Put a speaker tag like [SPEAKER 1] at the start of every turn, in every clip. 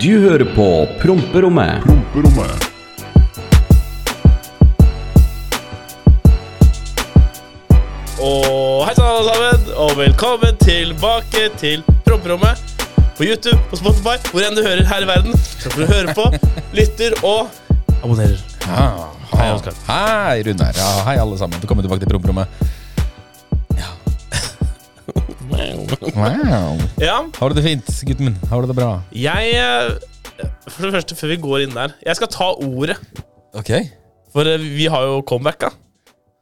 [SPEAKER 1] Du hører på Promperommet.
[SPEAKER 2] Promperommet.
[SPEAKER 3] Og hei sann, alle sammen, og velkommen tilbake til promperommet. På YouTube, på Spotify, hvor enn du hører her i verden. Så får du høre på, lytter og abonnerer.
[SPEAKER 4] Ja,
[SPEAKER 3] Hei, Oskar.
[SPEAKER 4] Ah, Hei, Runar. Ja, hei, alle sammen. Velkommen tilbake til promperommet. Ja. Wow.
[SPEAKER 3] Ja,
[SPEAKER 4] Har du det fint, gutten min? Har du det bra?
[SPEAKER 3] jeg eh, For det første, før vi går inn der, jeg skal ta ordet.
[SPEAKER 4] Ok.
[SPEAKER 3] For eh, vi har jo comebacka.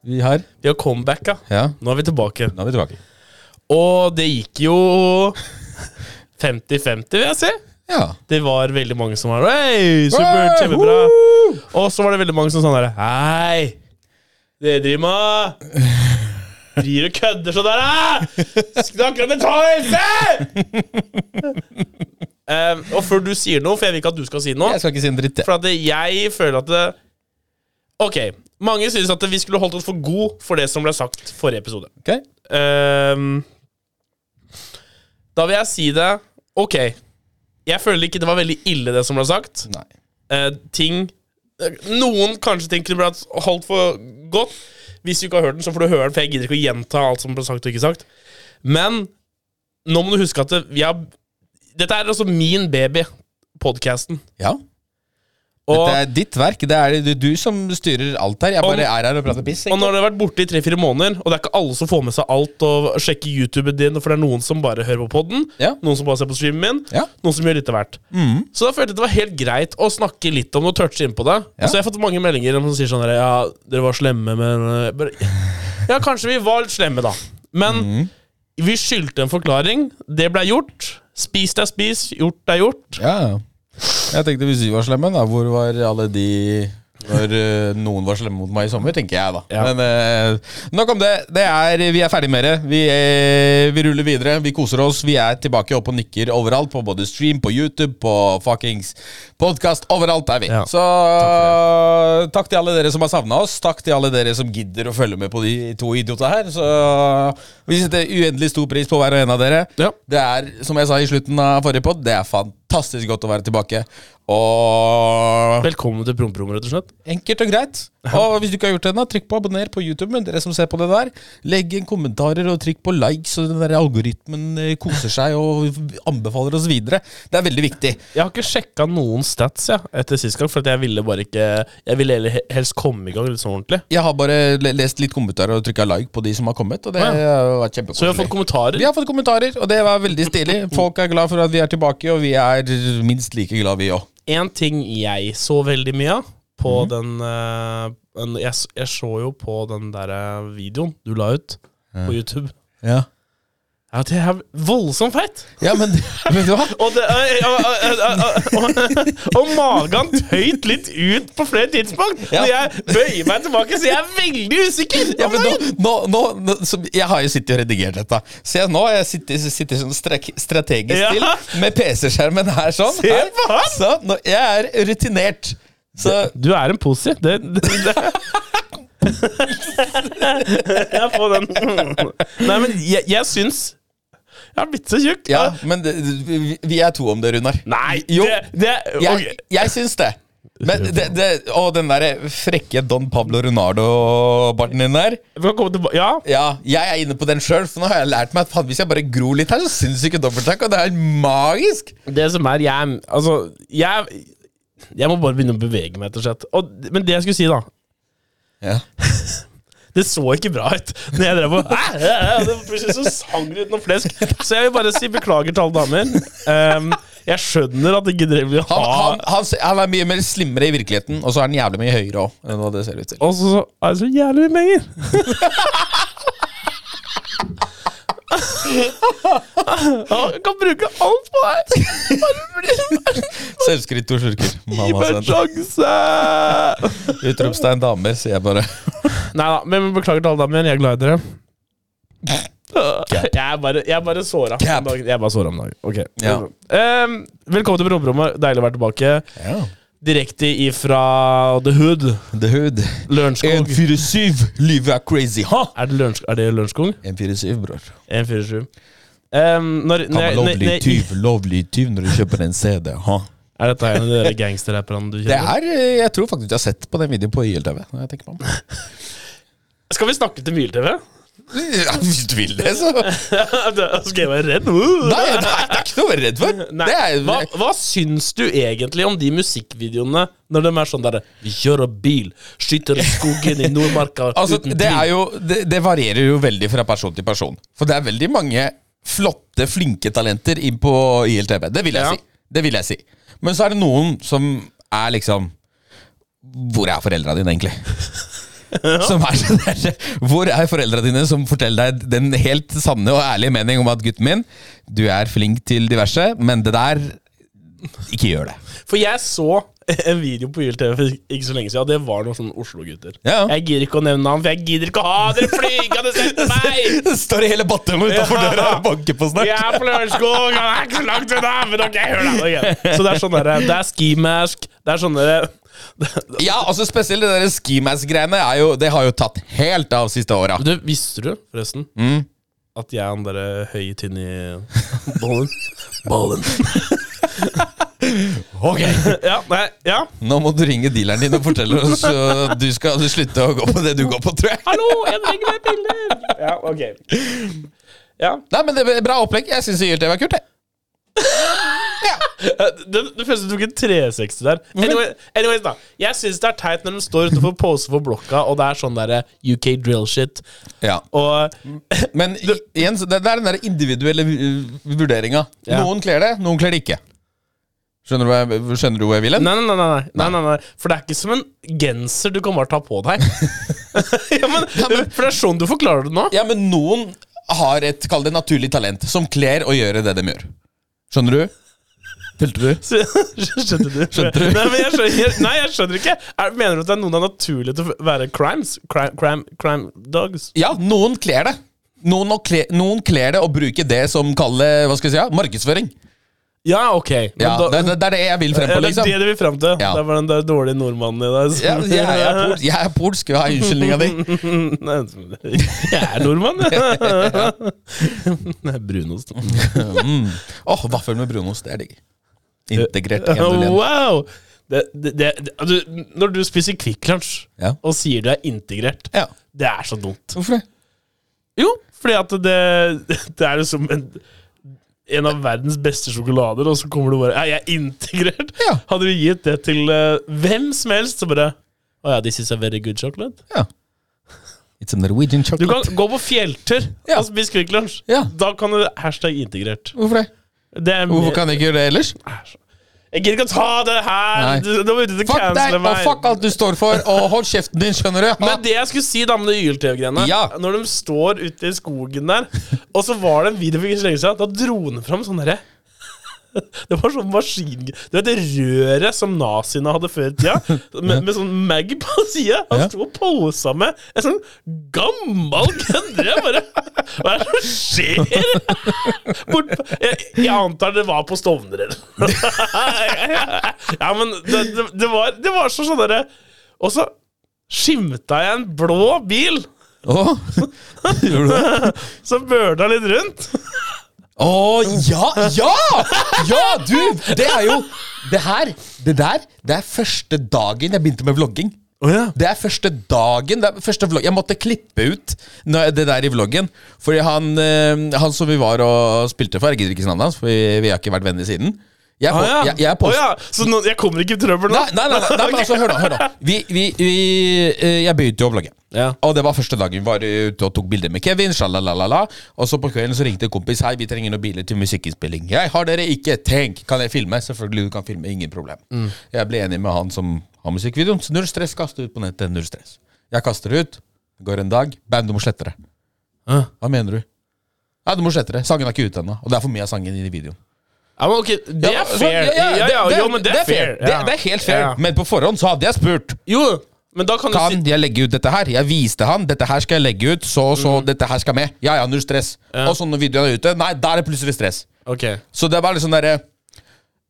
[SPEAKER 4] Vi har
[SPEAKER 3] Vi har comebacka.
[SPEAKER 4] Ja,
[SPEAKER 3] Nå er vi tilbake.
[SPEAKER 4] nå er vi tilbake.
[SPEAKER 3] Og det gikk jo 50-50, vil jeg si.
[SPEAKER 4] Ja.
[SPEAKER 3] Det var veldig mange som var Hei, supert,
[SPEAKER 4] Hey,
[SPEAKER 3] kjempebra. Og så var det veldig mange som sånn der Hei, dere driver med Driver og kødder sånn der, hæ? Snakker om mental helse! um, og før du sier noe, for jeg vil ikke at du skal si noe
[SPEAKER 4] Jeg skal ikke si en dritt, jeg.
[SPEAKER 3] For at jeg føler at det, Ok, mange synes at vi skulle holdt oss for god for det som ble sagt forrige episode.
[SPEAKER 4] Ok?
[SPEAKER 3] Ehm, da vil jeg si det Ok, jeg føler ikke det var veldig ille det som ble sagt.
[SPEAKER 4] Nei.
[SPEAKER 3] Eh, ting Noen kanskje ting kunne blitt holdt for godt. Hvis du ikke har hørt den, så får du høre den, for jeg gidder ikke å gjenta alt som ble sagt og ikke sagt. Men nå må du huske at det, vi har Dette er altså min baby, podkasten.
[SPEAKER 4] Ja.
[SPEAKER 3] Og,
[SPEAKER 4] Dette er ditt verk. Det er det du som styrer alt her. Jeg bare er her og prater piss.
[SPEAKER 3] og
[SPEAKER 4] egentlig.
[SPEAKER 3] når det har vært borte i tre-fire måneder, og det er ikke alle som får med seg alt og sjekker YouTuben din, for det er noen som bare hører på podden,
[SPEAKER 4] Ja.
[SPEAKER 3] noen som bare ser på streamen min,
[SPEAKER 4] Ja. Mm.
[SPEAKER 3] noen som gjør litt av hvert. Så da følte jeg at det var helt greit å snakke litt om det og touche inn på det.
[SPEAKER 4] Ja.
[SPEAKER 3] Så jeg har fått mange meldinger om som sier sånn der, Ja, dere var slemme, men eh, bare, Ja, kanskje vi var litt slemme, da. Men
[SPEAKER 4] Mm.
[SPEAKER 3] vi skyldte en forklaring. Det ble gjort. Spist er spist, gjort er gjort.
[SPEAKER 4] Ja. Jeg tenkte hvis vi var slemme, da, hvor var alle de når eh, noen var slemme mot meg i sommer, tenker jeg da.
[SPEAKER 3] Ja.
[SPEAKER 4] Men eh, nok om det. det er, vi er ferdig med det. Vi, eh, vi ruller videre. Vi koser oss. Vi er tilbake opp og nikker overalt. På både stream, på YouTube, på fuckings podkast. Overalt er vi.
[SPEAKER 3] Ja.
[SPEAKER 4] Så takk, til alle dere som har savna oss. Takk til alle dere som gidder å følge med på de to idiota her. Så vi setter uendelig stor pris på hver og en av dere.
[SPEAKER 3] Ja.
[SPEAKER 4] Det er, som jeg sa i slutten av forrige podd, det er fantastisk godt å være tilbake. Og
[SPEAKER 3] Velkommen til promperommet, rett og slett.
[SPEAKER 4] enkelt og greit. Og hvis du ikke har gjort det ennå, trykk på abonner på YouTube. Men dere som ser på det der, legg inn kommentarer og trykk på likes, og den der algoritmen eh, koser seg og anbefaler oss videre. Det er veldig viktig.
[SPEAKER 3] Jeg har ikke sjekka noen stats jeg, etter sist gang, for at jeg ville bare ikke Jeg ville heller helst komme i gang litt sånn ordentlig.
[SPEAKER 4] Jeg har bare le- lest litt kommentarer og trykka like på de som har kommet, og det
[SPEAKER 3] Ja.
[SPEAKER 4] har vært kjempekoselig.
[SPEAKER 3] Så vi har fått kommentarer.
[SPEAKER 4] Vi har fått kommentarer, og det var veldig stilig. Folk er glad for at vi er tilbake, og vi er minst like glad, vi òg.
[SPEAKER 3] En ting jeg så veldig mye av på den eh, en- jeg, s- jeg så jo på den der eh, videoen du la ut på YouTube.
[SPEAKER 4] Ja.
[SPEAKER 3] Ja, det er voldsomt feit!
[SPEAKER 4] ja, men vet du hva?
[SPEAKER 3] Og, det, eh, eh, eh, eh, eh, eh, og, og magen tøyt litt ut på flere tidspunkt.
[SPEAKER 4] Ja.
[SPEAKER 3] Og jeg bøyer meg tilbake, så jeg er veldig usikker.
[SPEAKER 4] Ja, men nå, nå, nå, nå så Jeg har jo sittet og redigert dette. Se nå, jeg sitter, sitter sånn strek, strategisk
[SPEAKER 3] Ja.
[SPEAKER 4] til med PC-skjermen her sånn.
[SPEAKER 3] Se
[SPEAKER 4] Her.
[SPEAKER 3] på han!
[SPEAKER 4] Så nå, jeg er rutinert. Så
[SPEAKER 3] Du er en posi. Det, det, det. Jeg får den. Nei, men jeg, jeg syns Jeg har blitt så tjukk.
[SPEAKER 4] ja, men det, vi, vi er to om det, Runar.
[SPEAKER 3] Nei,
[SPEAKER 4] Jo.
[SPEAKER 3] det, det
[SPEAKER 4] Jeg,
[SPEAKER 3] ok.
[SPEAKER 4] jeg syns det. Men det, det, og den derre frekke Don Pablo Ronardo-barten din der.
[SPEAKER 3] Vi kan komme tilbake Ja,
[SPEAKER 4] Ja, jeg er inne på den sjøl, for nå har jeg lært meg at faen, hvis jeg bare gror litt her, så syns ikke dobbelttakk, og det er magisk.
[SPEAKER 3] det som er Jeg er- Altså, jeg Jeg må bare begynne å bevege meg, rett og slett. Og, men det jeg skulle si, da
[SPEAKER 4] Ja.
[SPEAKER 3] Det så ikke bra ut når jeg drev og Hæ? Hæ? Hæ? Det Plutselig så sang det ut noe flesk. Så jeg vil bare si beklager til alle damer. Ehm, jeg skjønner at ikke dere vil
[SPEAKER 4] Han,
[SPEAKER 3] ha
[SPEAKER 4] han, han, han er mye mer slimmere i virkeligheten, og så er han jævlig mye høyere òg. Enn hva det ser ut til.
[SPEAKER 3] Og så er det så jævlig mye penger. Jeg kan bruke alt på deg. Bare bli
[SPEAKER 4] Selvskritt og slurker.
[SPEAKER 3] Gi
[SPEAKER 4] Mamma
[SPEAKER 3] meg en
[SPEAKER 4] send.
[SPEAKER 3] sjanse!
[SPEAKER 4] Utropstegn damer, sier jeg bare.
[SPEAKER 3] Nei da, men beklager til alle damer. Jeg er glad i dere. Jeg er bare, jeg er bare såra
[SPEAKER 4] Cap.
[SPEAKER 3] om dagen. Jeg er bare såra om dagen. Ok.
[SPEAKER 4] Ja.
[SPEAKER 3] Ehm, velkommen til promperommet. Deilig å være tilbake. Direkte ifra The Hood.
[SPEAKER 4] The Hood.
[SPEAKER 3] Lørenskog.
[SPEAKER 4] 147, livet er crazy, ha!
[SPEAKER 3] Er det, Lørensk er det Lørenskog?
[SPEAKER 4] 147, bror.
[SPEAKER 3] 147. Um, når,
[SPEAKER 4] Kan
[SPEAKER 3] når,
[SPEAKER 4] være
[SPEAKER 3] når,
[SPEAKER 4] lovlig
[SPEAKER 3] når,
[SPEAKER 4] tyv, lovlig tyv når du kjøper en CD, ha?
[SPEAKER 3] er dette en av de der gangsterrapperne du
[SPEAKER 4] Det
[SPEAKER 3] kjenner?
[SPEAKER 4] er, eh, jeg tror faktisk jeg har sett på den videoen på YLTV. Når jeg tenker på den.
[SPEAKER 3] Skal vi snakke til Myhl-TV?
[SPEAKER 4] Ja, Hvis du vil det, så Nei,
[SPEAKER 3] Da Skal jeg være redd? Uh.
[SPEAKER 4] nei det er ikke noe å være redd for.
[SPEAKER 3] Nei.
[SPEAKER 4] Det er,
[SPEAKER 3] hva, hva syns du egentlig om de musikkvideoene når de er sånn derre Vi kjører bil, skyter i skogen i Nordmarka
[SPEAKER 4] altså,
[SPEAKER 3] uten
[SPEAKER 4] det, er
[SPEAKER 3] tvil».
[SPEAKER 4] jo, det, det varierer jo veldig fra person til person. For det er veldig mange flotte, flinke talenter inn på YLTV. Det vil jeg
[SPEAKER 3] Ja.
[SPEAKER 4] si. Det vil jeg si. Men så er det noen som er liksom Hvor er foreldra dine, egentlig? Som er sånn der, hvor er foreldra dine som forteller deg den helt sanne og ærlige mening om at gutten min, du er flink til diverse, men det der Ikke gjør det.
[SPEAKER 3] For jeg så en video på YLTV for ikke så lenge siden, og det var noen sånne Oslo-gutter.
[SPEAKER 4] Ja.
[SPEAKER 3] Jeg gidder ikke å nevne navn, for jeg gidder ikke å ha dere flygende etter meg!
[SPEAKER 4] Det står i hele Batøm utafor
[SPEAKER 3] Ja.
[SPEAKER 4] døra og banker på
[SPEAKER 3] Jeg
[SPEAKER 4] snart.
[SPEAKER 3] er på Lørenskog, og det er ikke så langt unna! Men ok, hør da, ok. Så det er sånn derre Det er ski mask, det er sånn sånne
[SPEAKER 4] Ja, altså spesielt det der skimask-greiene er jo, Det har jo tatt helt av siste åra.
[SPEAKER 3] Du, visste du forresten at jeg er han derre høye, tynne Bollen. Bollen.
[SPEAKER 4] Ok
[SPEAKER 3] Ja, nei, ja.
[SPEAKER 4] Nå må du ringe dealeren din og fortelle oss uh, du skal slutte å gå på det du går på, tror jeg.
[SPEAKER 3] Hallo, jeg trenger mer piller! Ja, ok. Ja.
[SPEAKER 4] Nei, men det er Bra opplegg. Jeg syns YLTV er kult, jeg.
[SPEAKER 3] Det, det føles som du tok en 360 der. Anyway, anyways da Jeg syns det er teit når de står utenfor pose for blokka, og det er sånn derre UK drill shit.
[SPEAKER 4] Ja.
[SPEAKER 3] Og
[SPEAKER 4] Men i- igjen, så det, det er den der individuelle uh, vurderinga.
[SPEAKER 3] Ja.
[SPEAKER 4] Noen kler det, noen kler det ikke. Skjønner du hva jeg, skjønner du hvor jeg vil hen?
[SPEAKER 3] nei nei nei, nei, nei, nei, nei. For det er ikke som en genser du kan bare ta på deg. ja, men, For det er sånn du forklarer det nå.
[SPEAKER 4] Ja, men noen har et kall det naturlig talent, som kler å gjøre det de gjør. Skjønner du? Følte du?
[SPEAKER 3] Så- Skjønner du?
[SPEAKER 4] Skjønte du?
[SPEAKER 3] Nei, men jeg skjønner, jeg, nei, jeg skjønner ikke. Er, mener du at det er noen det er naturlig til å være crimes? Crime, crime, crime dogs?
[SPEAKER 4] Ja, noen kler det. Noen, å kle, noen kler det og bruker det som kaller hva skal jeg si, ja, markedsføring.
[SPEAKER 3] Ja, ok. Men
[SPEAKER 4] Ja,
[SPEAKER 3] da-
[SPEAKER 4] det, det, det er det jeg vil frem
[SPEAKER 3] Ja,
[SPEAKER 4] på,
[SPEAKER 3] det
[SPEAKER 4] liksom.
[SPEAKER 3] er det du vil fram til.
[SPEAKER 4] Ja.
[SPEAKER 3] Det var den der dårlige nordmannen i deg. som-
[SPEAKER 4] Ja, jeg, jeg, er pol, jeg er polsk, jeg har unnskyldninga di.
[SPEAKER 3] Nei, jeg er nordmann, jeg. Det er brunost.
[SPEAKER 4] Mm. Åh, vaffel med brunost, det er digg. Integrert en til en.
[SPEAKER 3] Eh, Wow! Det, det, det, du, når du spiser Kvikk Lunsj
[SPEAKER 4] Ja.
[SPEAKER 3] og sier du er integrert,
[SPEAKER 4] Ja.
[SPEAKER 3] det er så dumt.
[SPEAKER 4] Hvorfor det?
[SPEAKER 3] Jo, fordi at det, det er jo som en, en av verdens beste sjokolader, og så kommer du bare Ja, jeg er integrert!
[SPEAKER 4] Ja.
[SPEAKER 3] Hadde du gitt det til eh, hvem som helst, så bare Å ja, this is a very good chocolate.
[SPEAKER 4] Ja. It's a Norwegian
[SPEAKER 3] Du
[SPEAKER 4] chocolate.
[SPEAKER 3] kan gå på fjelltur
[SPEAKER 4] Ja.
[SPEAKER 3] og spise Kvikk Lunsj.
[SPEAKER 4] Ja.
[SPEAKER 3] Da kan du hashtag integrert.
[SPEAKER 4] Hvorfor det?
[SPEAKER 3] Det er
[SPEAKER 4] Hvorfor kan jeg ikke gjøre det ellers?
[SPEAKER 3] Jeg gidder ikke å ta det her!
[SPEAKER 4] Nei.
[SPEAKER 3] Du, du må ut og
[SPEAKER 4] Fuck deg,
[SPEAKER 3] cancele
[SPEAKER 4] og
[SPEAKER 3] meg.
[SPEAKER 4] fuck alt du står for, og hold kjeften din, skjønner du?
[SPEAKER 3] Men det jeg skulle si da med det YLTV-greiene
[SPEAKER 4] Ja.
[SPEAKER 3] Når de står ute i skogen der, og så var det en video for ikke så lenge siden, da dro den fram sånn derre det var sånn maskin... Du vet det røret som naziene hadde før i tida? Med, med sånn mag på sida. Han
[SPEAKER 4] Ja.
[SPEAKER 3] sto og posa med en sånn gammel gønner. Jeg bare Hva er det som skjer? Bort, jeg, jeg antar det var på Stovner eller noe. Ja, men det, det, det, var, det var så sånn derre Og så skimta jeg en blå bil
[SPEAKER 4] Åh, gjorde du det?
[SPEAKER 3] som børda litt rundt.
[SPEAKER 4] Å, ja! Ja! Ja, du! Det er jo Det her, det der, det er første dagen jeg begynte med vlogging. Det er første dagen det er første vlogg, Jeg måtte klippe ut når jeg- det der i vloggen. Fordi han, eh, han som vi var og spilte for, jeg gidder ikke si navnet hans, for vi, vi har ikke vært venner siden. Jeg,
[SPEAKER 3] Å
[SPEAKER 4] po-
[SPEAKER 3] Ah, ja.
[SPEAKER 4] jeg, jeg
[SPEAKER 3] Å
[SPEAKER 4] post-
[SPEAKER 3] ja. Så nå, jeg kommer ikke i trøbbel nå?
[SPEAKER 4] Nei, nei, nei, nei, nei men altså, hør da, hør da. Vi, vi, vi, eh, jeg begynte jo å vlogge.
[SPEAKER 3] Ja.
[SPEAKER 4] Og det var første dagen vi var eh, ute og tok bilder med Kevin. Shalalala. Og så på kvelden så ringte en kompis Hei, vi trenger noen biler til musikkinnspilling. Jeg har dere ikke. Tenk, kan jeg filme? Selvfølgelig du kan filme, ingen problem. Jeg ble enig med han som har musikkvideoen. Så null stress, kast det ut på nettet. Null stress. Jeg kaster det ut. Det Går en dag. Bam, du må slette det.
[SPEAKER 3] Hæ?
[SPEAKER 4] Hva mener du? Nei, du må slette det. Sangen er ikke ute ennå. Og det er for mye av sangen i videoen.
[SPEAKER 3] Ja, men ok, Det
[SPEAKER 4] Ja,
[SPEAKER 3] er fair.
[SPEAKER 4] sånn,
[SPEAKER 3] Ja, ja, jo, men det er fair.
[SPEAKER 4] Det,
[SPEAKER 3] Ja.
[SPEAKER 4] det er helt fair.
[SPEAKER 3] Ja.
[SPEAKER 4] Men på forhånd så hadde jeg spurt.
[SPEAKER 3] Jo, men da kan du si
[SPEAKER 4] Kan jeg legge ut dette her? Jeg viste han. Dette her skal jeg legge ut. Så så
[SPEAKER 3] Mm.
[SPEAKER 4] dette her skal med. Ja ja, null stress. Og så når videoen er ute, nei, da er det plutselig stress.
[SPEAKER 3] Ok.
[SPEAKER 4] Så det er bare litt sånn derre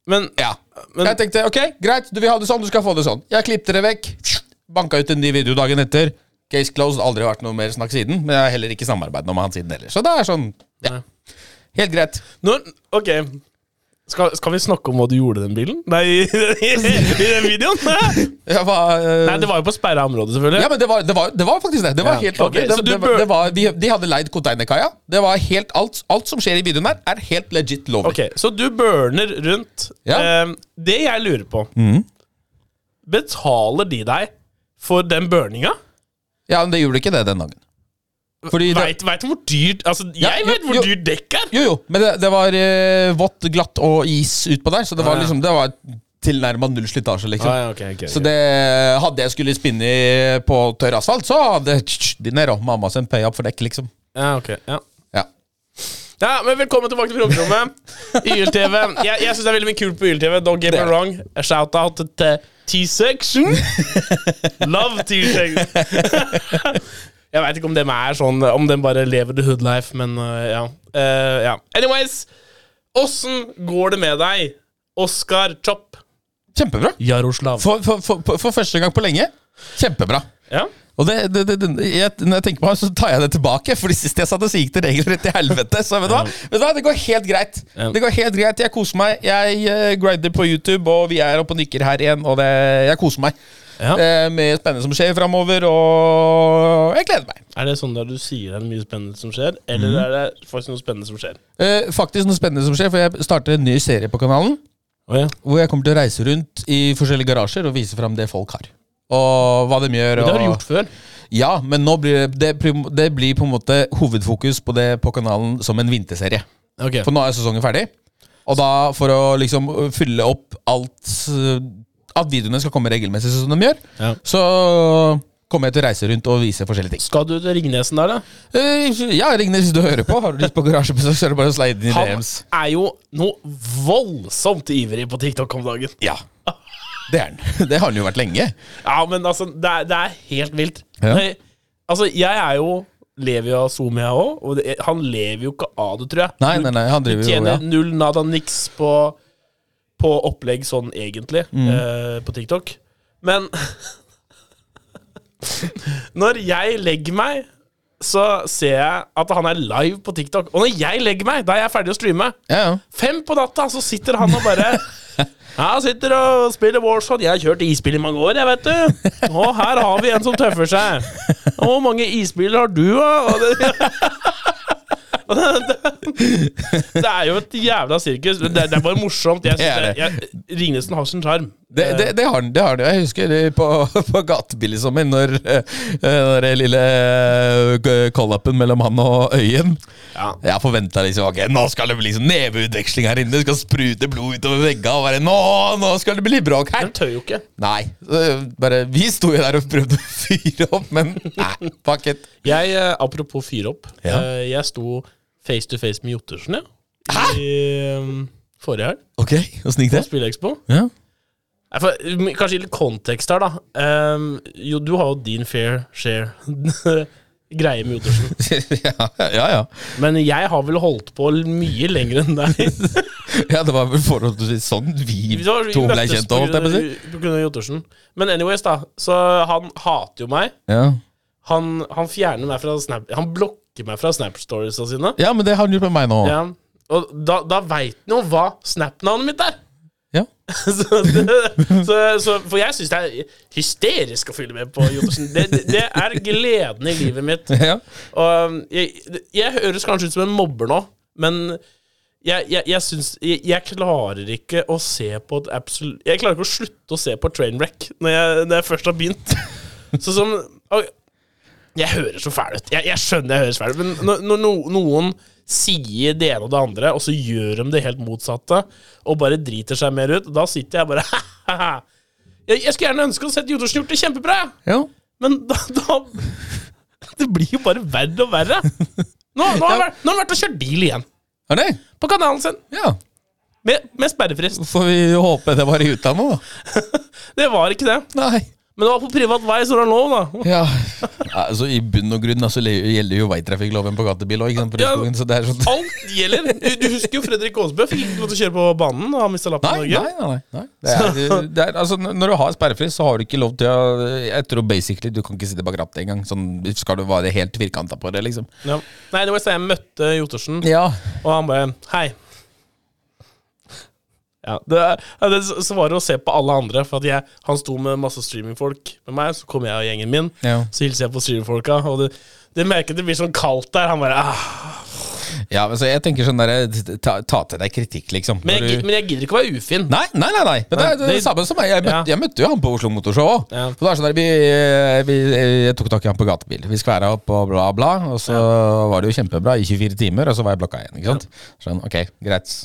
[SPEAKER 3] Men
[SPEAKER 4] Ja.
[SPEAKER 3] Men
[SPEAKER 4] Jeg tenkte ok, greit, du vil ha det sånn, du skal få det sånn. Jeg klippte det vekk. Banka ut en ny video dagen etter. Case closed, aldri vært noe mer snakk siden. Men jeg har heller ikke samarbeidet med han siden heller. Så det er sånn, ja. Helt greit.
[SPEAKER 3] når, Ok. Skal, skal vi snakke om hva du gjorde i den bilen? Nei, i, i, i den videoen? Nei,
[SPEAKER 4] Ja, hva, eh,
[SPEAKER 3] det var jo på sperra område, selvfølgelig.
[SPEAKER 4] ja, men det var, det, var, det var faktisk det. Det var
[SPEAKER 3] Ja.
[SPEAKER 4] helt lovlig.
[SPEAKER 3] Ok, så
[SPEAKER 4] det,
[SPEAKER 3] du
[SPEAKER 4] det, var-
[SPEAKER 3] bør-
[SPEAKER 4] det var, de, de hadde leid konteinerkaia. Det var helt alt, alt som skjer i videoen her, er helt legit lovlig.
[SPEAKER 3] Ok, Så du burner rundt.
[SPEAKER 4] Ja. Mm.
[SPEAKER 3] Eh, det jeg lurer på Betaler de deg for den burninga?
[SPEAKER 4] Ja, men det gjorde ikke det den dagen. Fordi det,
[SPEAKER 3] Veit veit du hvor dyrt Altså,
[SPEAKER 4] Ja,
[SPEAKER 3] jeg
[SPEAKER 4] jo,
[SPEAKER 3] vet hvor
[SPEAKER 4] jo.
[SPEAKER 3] dyrt dekk er!
[SPEAKER 4] Jo, jo, men det, det var eh, vått, glatt og is utpå der, så det
[SPEAKER 3] Ah,
[SPEAKER 4] var
[SPEAKER 3] ja.
[SPEAKER 4] liksom Det var tilnærma null slitasje, liksom.
[SPEAKER 3] Ah, ja, ok, ok,
[SPEAKER 4] Så
[SPEAKER 3] ok.
[SPEAKER 4] det hadde jeg skulle spinne i- på tørr asfalt, så hadde Dinero, mamma sin pay up for dekk, liksom.
[SPEAKER 3] Ja, Ah, ok, ja.
[SPEAKER 4] Ja.
[SPEAKER 3] ja, men Velkommen tilbake til promperommet. YLTV. Jeg, jeg syns det er veldig mye kult på YLTV. Don't get me
[SPEAKER 4] Det er det.
[SPEAKER 3] wrong. Shout-out til T-section. Love T-section. jeg veit ikke om dem er sånn Om dem bare lever the hood life, men øh, ja. Eh, ja. Anyways, åssen går det med deg, Oskar Chop?
[SPEAKER 4] Kjempebra.
[SPEAKER 3] Jaroslav.
[SPEAKER 4] For, for, for, for første gang på lenge. Kjempebra.
[SPEAKER 3] Ja?
[SPEAKER 4] Og det, det, det, det, jeg, når jeg tenker på det, så tar jeg det tilbake. For sist jeg satt og så gikk det regelrett til helvete. Så vet du hva? Vet du hva? Det går helt greit.
[SPEAKER 3] Ja.
[SPEAKER 4] Det går helt greit, Jeg koser meg. Jeg eh, grinder på YouTube, og vi er oppe og nikker her igjen. Og det, jeg koser meg.
[SPEAKER 3] Ja.
[SPEAKER 4] Eh, med spennende som skjer framover, og jeg gleder meg.
[SPEAKER 3] Er det sånn der du sier det er mye spennende som skjer, eller
[SPEAKER 4] Mhm.
[SPEAKER 3] er det faktisk noe spennende som skjer?
[SPEAKER 4] Eh, faktisk noe spennende som skjer, for jeg starter en ny serie på kanalen.
[SPEAKER 3] Oh, ja.
[SPEAKER 4] Hvor jeg kommer til å reise rundt i forskjellige garasjer og vise fram det folk har. Og hva de gjør.
[SPEAKER 3] Det har du
[SPEAKER 4] og-
[SPEAKER 3] gjort før.
[SPEAKER 4] Ja, men nå blir det, det, prim- det blir på en måte hovedfokus på det på kanalen som en vinterserie.
[SPEAKER 3] Okay.
[SPEAKER 4] For nå er sesongen ferdig. Og da, for å liksom fylle opp alt øh, At videoene skal komme regelmessig som de gjør,
[SPEAKER 3] Ja.
[SPEAKER 4] så kommer jeg til å reise rundt og vise forskjellige ting.
[SPEAKER 3] Skal du til Ringnesen der, da?
[SPEAKER 4] Eh, Ja, Ringnes, hvis du hører på, har du lyst på garasjebesøk, så er det bare å slide inn i
[SPEAKER 3] Han
[SPEAKER 4] DMs.
[SPEAKER 3] er jo noe voldsomt ivrig på TikTok om dagen.
[SPEAKER 4] Ja. Det er den. Det har den jo vært lenge.
[SPEAKER 3] Ja, men altså, det er, det er helt vilt.
[SPEAKER 4] Ja.
[SPEAKER 3] Nei, altså, jeg er jo Lever jo av SoMe, jeg òg, og det, han lever jo ikke av det, tror jeg.
[SPEAKER 4] Nei, nei, nei, han
[SPEAKER 3] Du
[SPEAKER 4] driver jo ja.
[SPEAKER 3] tjener null nada niks på, på opplegg sånn egentlig,
[SPEAKER 4] Mm.
[SPEAKER 3] eh, på TikTok. Men når jeg legger meg, så ser jeg at han er live på TikTok. Og når jeg legger meg, da er jeg ferdig å streame.
[SPEAKER 4] Ja, ja.
[SPEAKER 3] Fem på natta, så sitter han og bare Ja, sitter og spiller Warzone. Jeg har kjørt isbil i mange år, jeg, vet du. Og her har vi en som tøffer seg. Og Hvor mange isbiler har du, da? Og det, Og det, det er jo et jævla sirkus. men Det, det er bare morsomt. Jeg synes det,
[SPEAKER 4] Det er
[SPEAKER 3] jeg, Ringnesen har sin sjarm.
[SPEAKER 4] Det, det, det har den, det har den. Jeg husker det på, på gatebilligsommer, når, eh, når det lille eh, call-upen mellom han og Øyen
[SPEAKER 3] Ja.
[SPEAKER 4] Jeg forventa liksom ok, nå skal det bli sånn neveutveksling her inne, det skal sprute blod utover veggene. og bare, Nå nå skal det bli bråk her!
[SPEAKER 3] Den tør jo ikke.
[SPEAKER 4] Nei. så eh, Bare, vi sto jo der og prøvde å fyre opp, men nei, fuck it.
[SPEAKER 3] Jeg, eh, apropos fyre opp.
[SPEAKER 4] Ja.
[SPEAKER 3] eh, Jeg sto face to face med Jottersen, jeg.
[SPEAKER 4] Hæ?
[SPEAKER 3] I eh, forrige helg,
[SPEAKER 4] Ok, åssen gikk
[SPEAKER 3] på Spillekspo.
[SPEAKER 4] Ja.
[SPEAKER 3] Nei, for, m- kanskje i litt kontekst her, da. Ehm, jo, du har jo din fair share greie med Jodersen.
[SPEAKER 4] ja, ja, ja.
[SPEAKER 3] Men jeg har vel holdt på l- mye lenger enn deg.
[SPEAKER 4] Ja, det var vel forholdsvis sånn vi
[SPEAKER 3] Vi var- vi
[SPEAKER 4] to ble
[SPEAKER 3] møttes
[SPEAKER 4] kjent,
[SPEAKER 3] på
[SPEAKER 4] holdt jeg på å si.
[SPEAKER 3] grunn av- På grunn av Jodersen. Men anyways, da. Så han hater jo meg.
[SPEAKER 4] Ja.
[SPEAKER 3] Han, han fjerner meg fra Snap Han blokker meg fra Snap-storiesa sine.
[SPEAKER 4] ja, men det har han gjort med meg nå.
[SPEAKER 3] Ja. Og da, da veit han jo hva Snap-navnet mitt er!
[SPEAKER 4] Ja.
[SPEAKER 3] så, det, så, så, for jeg syns det er hysterisk å følge med på Jodersen. Det, det, det er gleden i livet mitt.
[SPEAKER 4] ja.
[SPEAKER 3] Og um, jeg, jeg høres kanskje ut som en mobber nå, men jeg, jeg, jeg syns jeg, jeg klarer ikke å se på et absolutt Jeg klarer ikke å slutte å se på Trainwreck når jeg, når jeg først har begynt. Så som og, Jeg hører så fæl ut. Jeg, jeg skjønner jeg høres fæl ut, men når, når no- noen sier det ene og det andre, og så gjør de det helt motsatte, og bare driter seg mer ut, da sitter jeg bare Jeg, jeg skulle gjerne ønske å sett Jodersen gjort det kjempebra! jeg.
[SPEAKER 4] ja.
[SPEAKER 3] Men da, da Det blir jo bare verre og verre. Nå, nå, har, han vært, nå har han vært og kjørt bil igjen.
[SPEAKER 4] Er det?
[SPEAKER 3] På kanalen sin.
[SPEAKER 4] Ja.
[SPEAKER 3] Med, med sperrefrist.
[SPEAKER 4] Får vi håpe det var i utlandet, da.
[SPEAKER 3] Det var ikke det.
[SPEAKER 4] Nei.
[SPEAKER 3] Men det var på privat vei, så det er lov, da.
[SPEAKER 4] Ja. Altså, I bunn og grunn altså, le- gjelder jo veitrafikkloven på gatebil òg.
[SPEAKER 3] Ja.
[SPEAKER 4] Nei,
[SPEAKER 3] Alt gjelder. Du, du husker jo Fredrik Aasbø fikk ikke lov til å kjøre på banen og har mista lappen i
[SPEAKER 4] nei,
[SPEAKER 3] Norge.
[SPEAKER 4] nei, nei, nei. Det er, det er, altså, n- når du har sperrefrist, så har du ikke lov til å Jeg tror basically du kan ikke sitte bak rattet engang. Sånn, skal du være helt firkanta på det, liksom.
[SPEAKER 3] Ja. Nei, det var så jeg møtte Jottersen,
[SPEAKER 4] Ja.
[SPEAKER 3] og han bare Hei. Ja, det, er- ja, det s- svarer å se på alle andre. For at jeg, han sto med masse streamingfolk med meg, så kom jeg og gjengen min.
[SPEAKER 4] Ja.
[SPEAKER 3] Så hilser jeg på streamingfolka, og det, det merker det blir sånn kaldt der. Han bare ah.
[SPEAKER 4] ja, men så jeg tenker sånn derre ta, ta til deg kritikk, liksom.
[SPEAKER 3] men,
[SPEAKER 4] Når
[SPEAKER 3] jeg,
[SPEAKER 4] du-
[SPEAKER 3] gi- men jeg gidder ikke å være ufin.
[SPEAKER 4] Nei, nei, nei. nei. Men det er det,
[SPEAKER 3] Nei, det-
[SPEAKER 4] samme som meg. Jeg møtte,
[SPEAKER 3] Ja.
[SPEAKER 4] jeg møtte jo han på Oslo Motorshow òg.
[SPEAKER 3] Ja.
[SPEAKER 4] Så det er sånn der, vi, vi, jeg tok tak i han på gatebil. Vi skværa opp og bla, bla. Og så var det jo kjempebra i 24 timer, og så var jeg blokka igjen. Ikke sant? Sånn, ok, greit.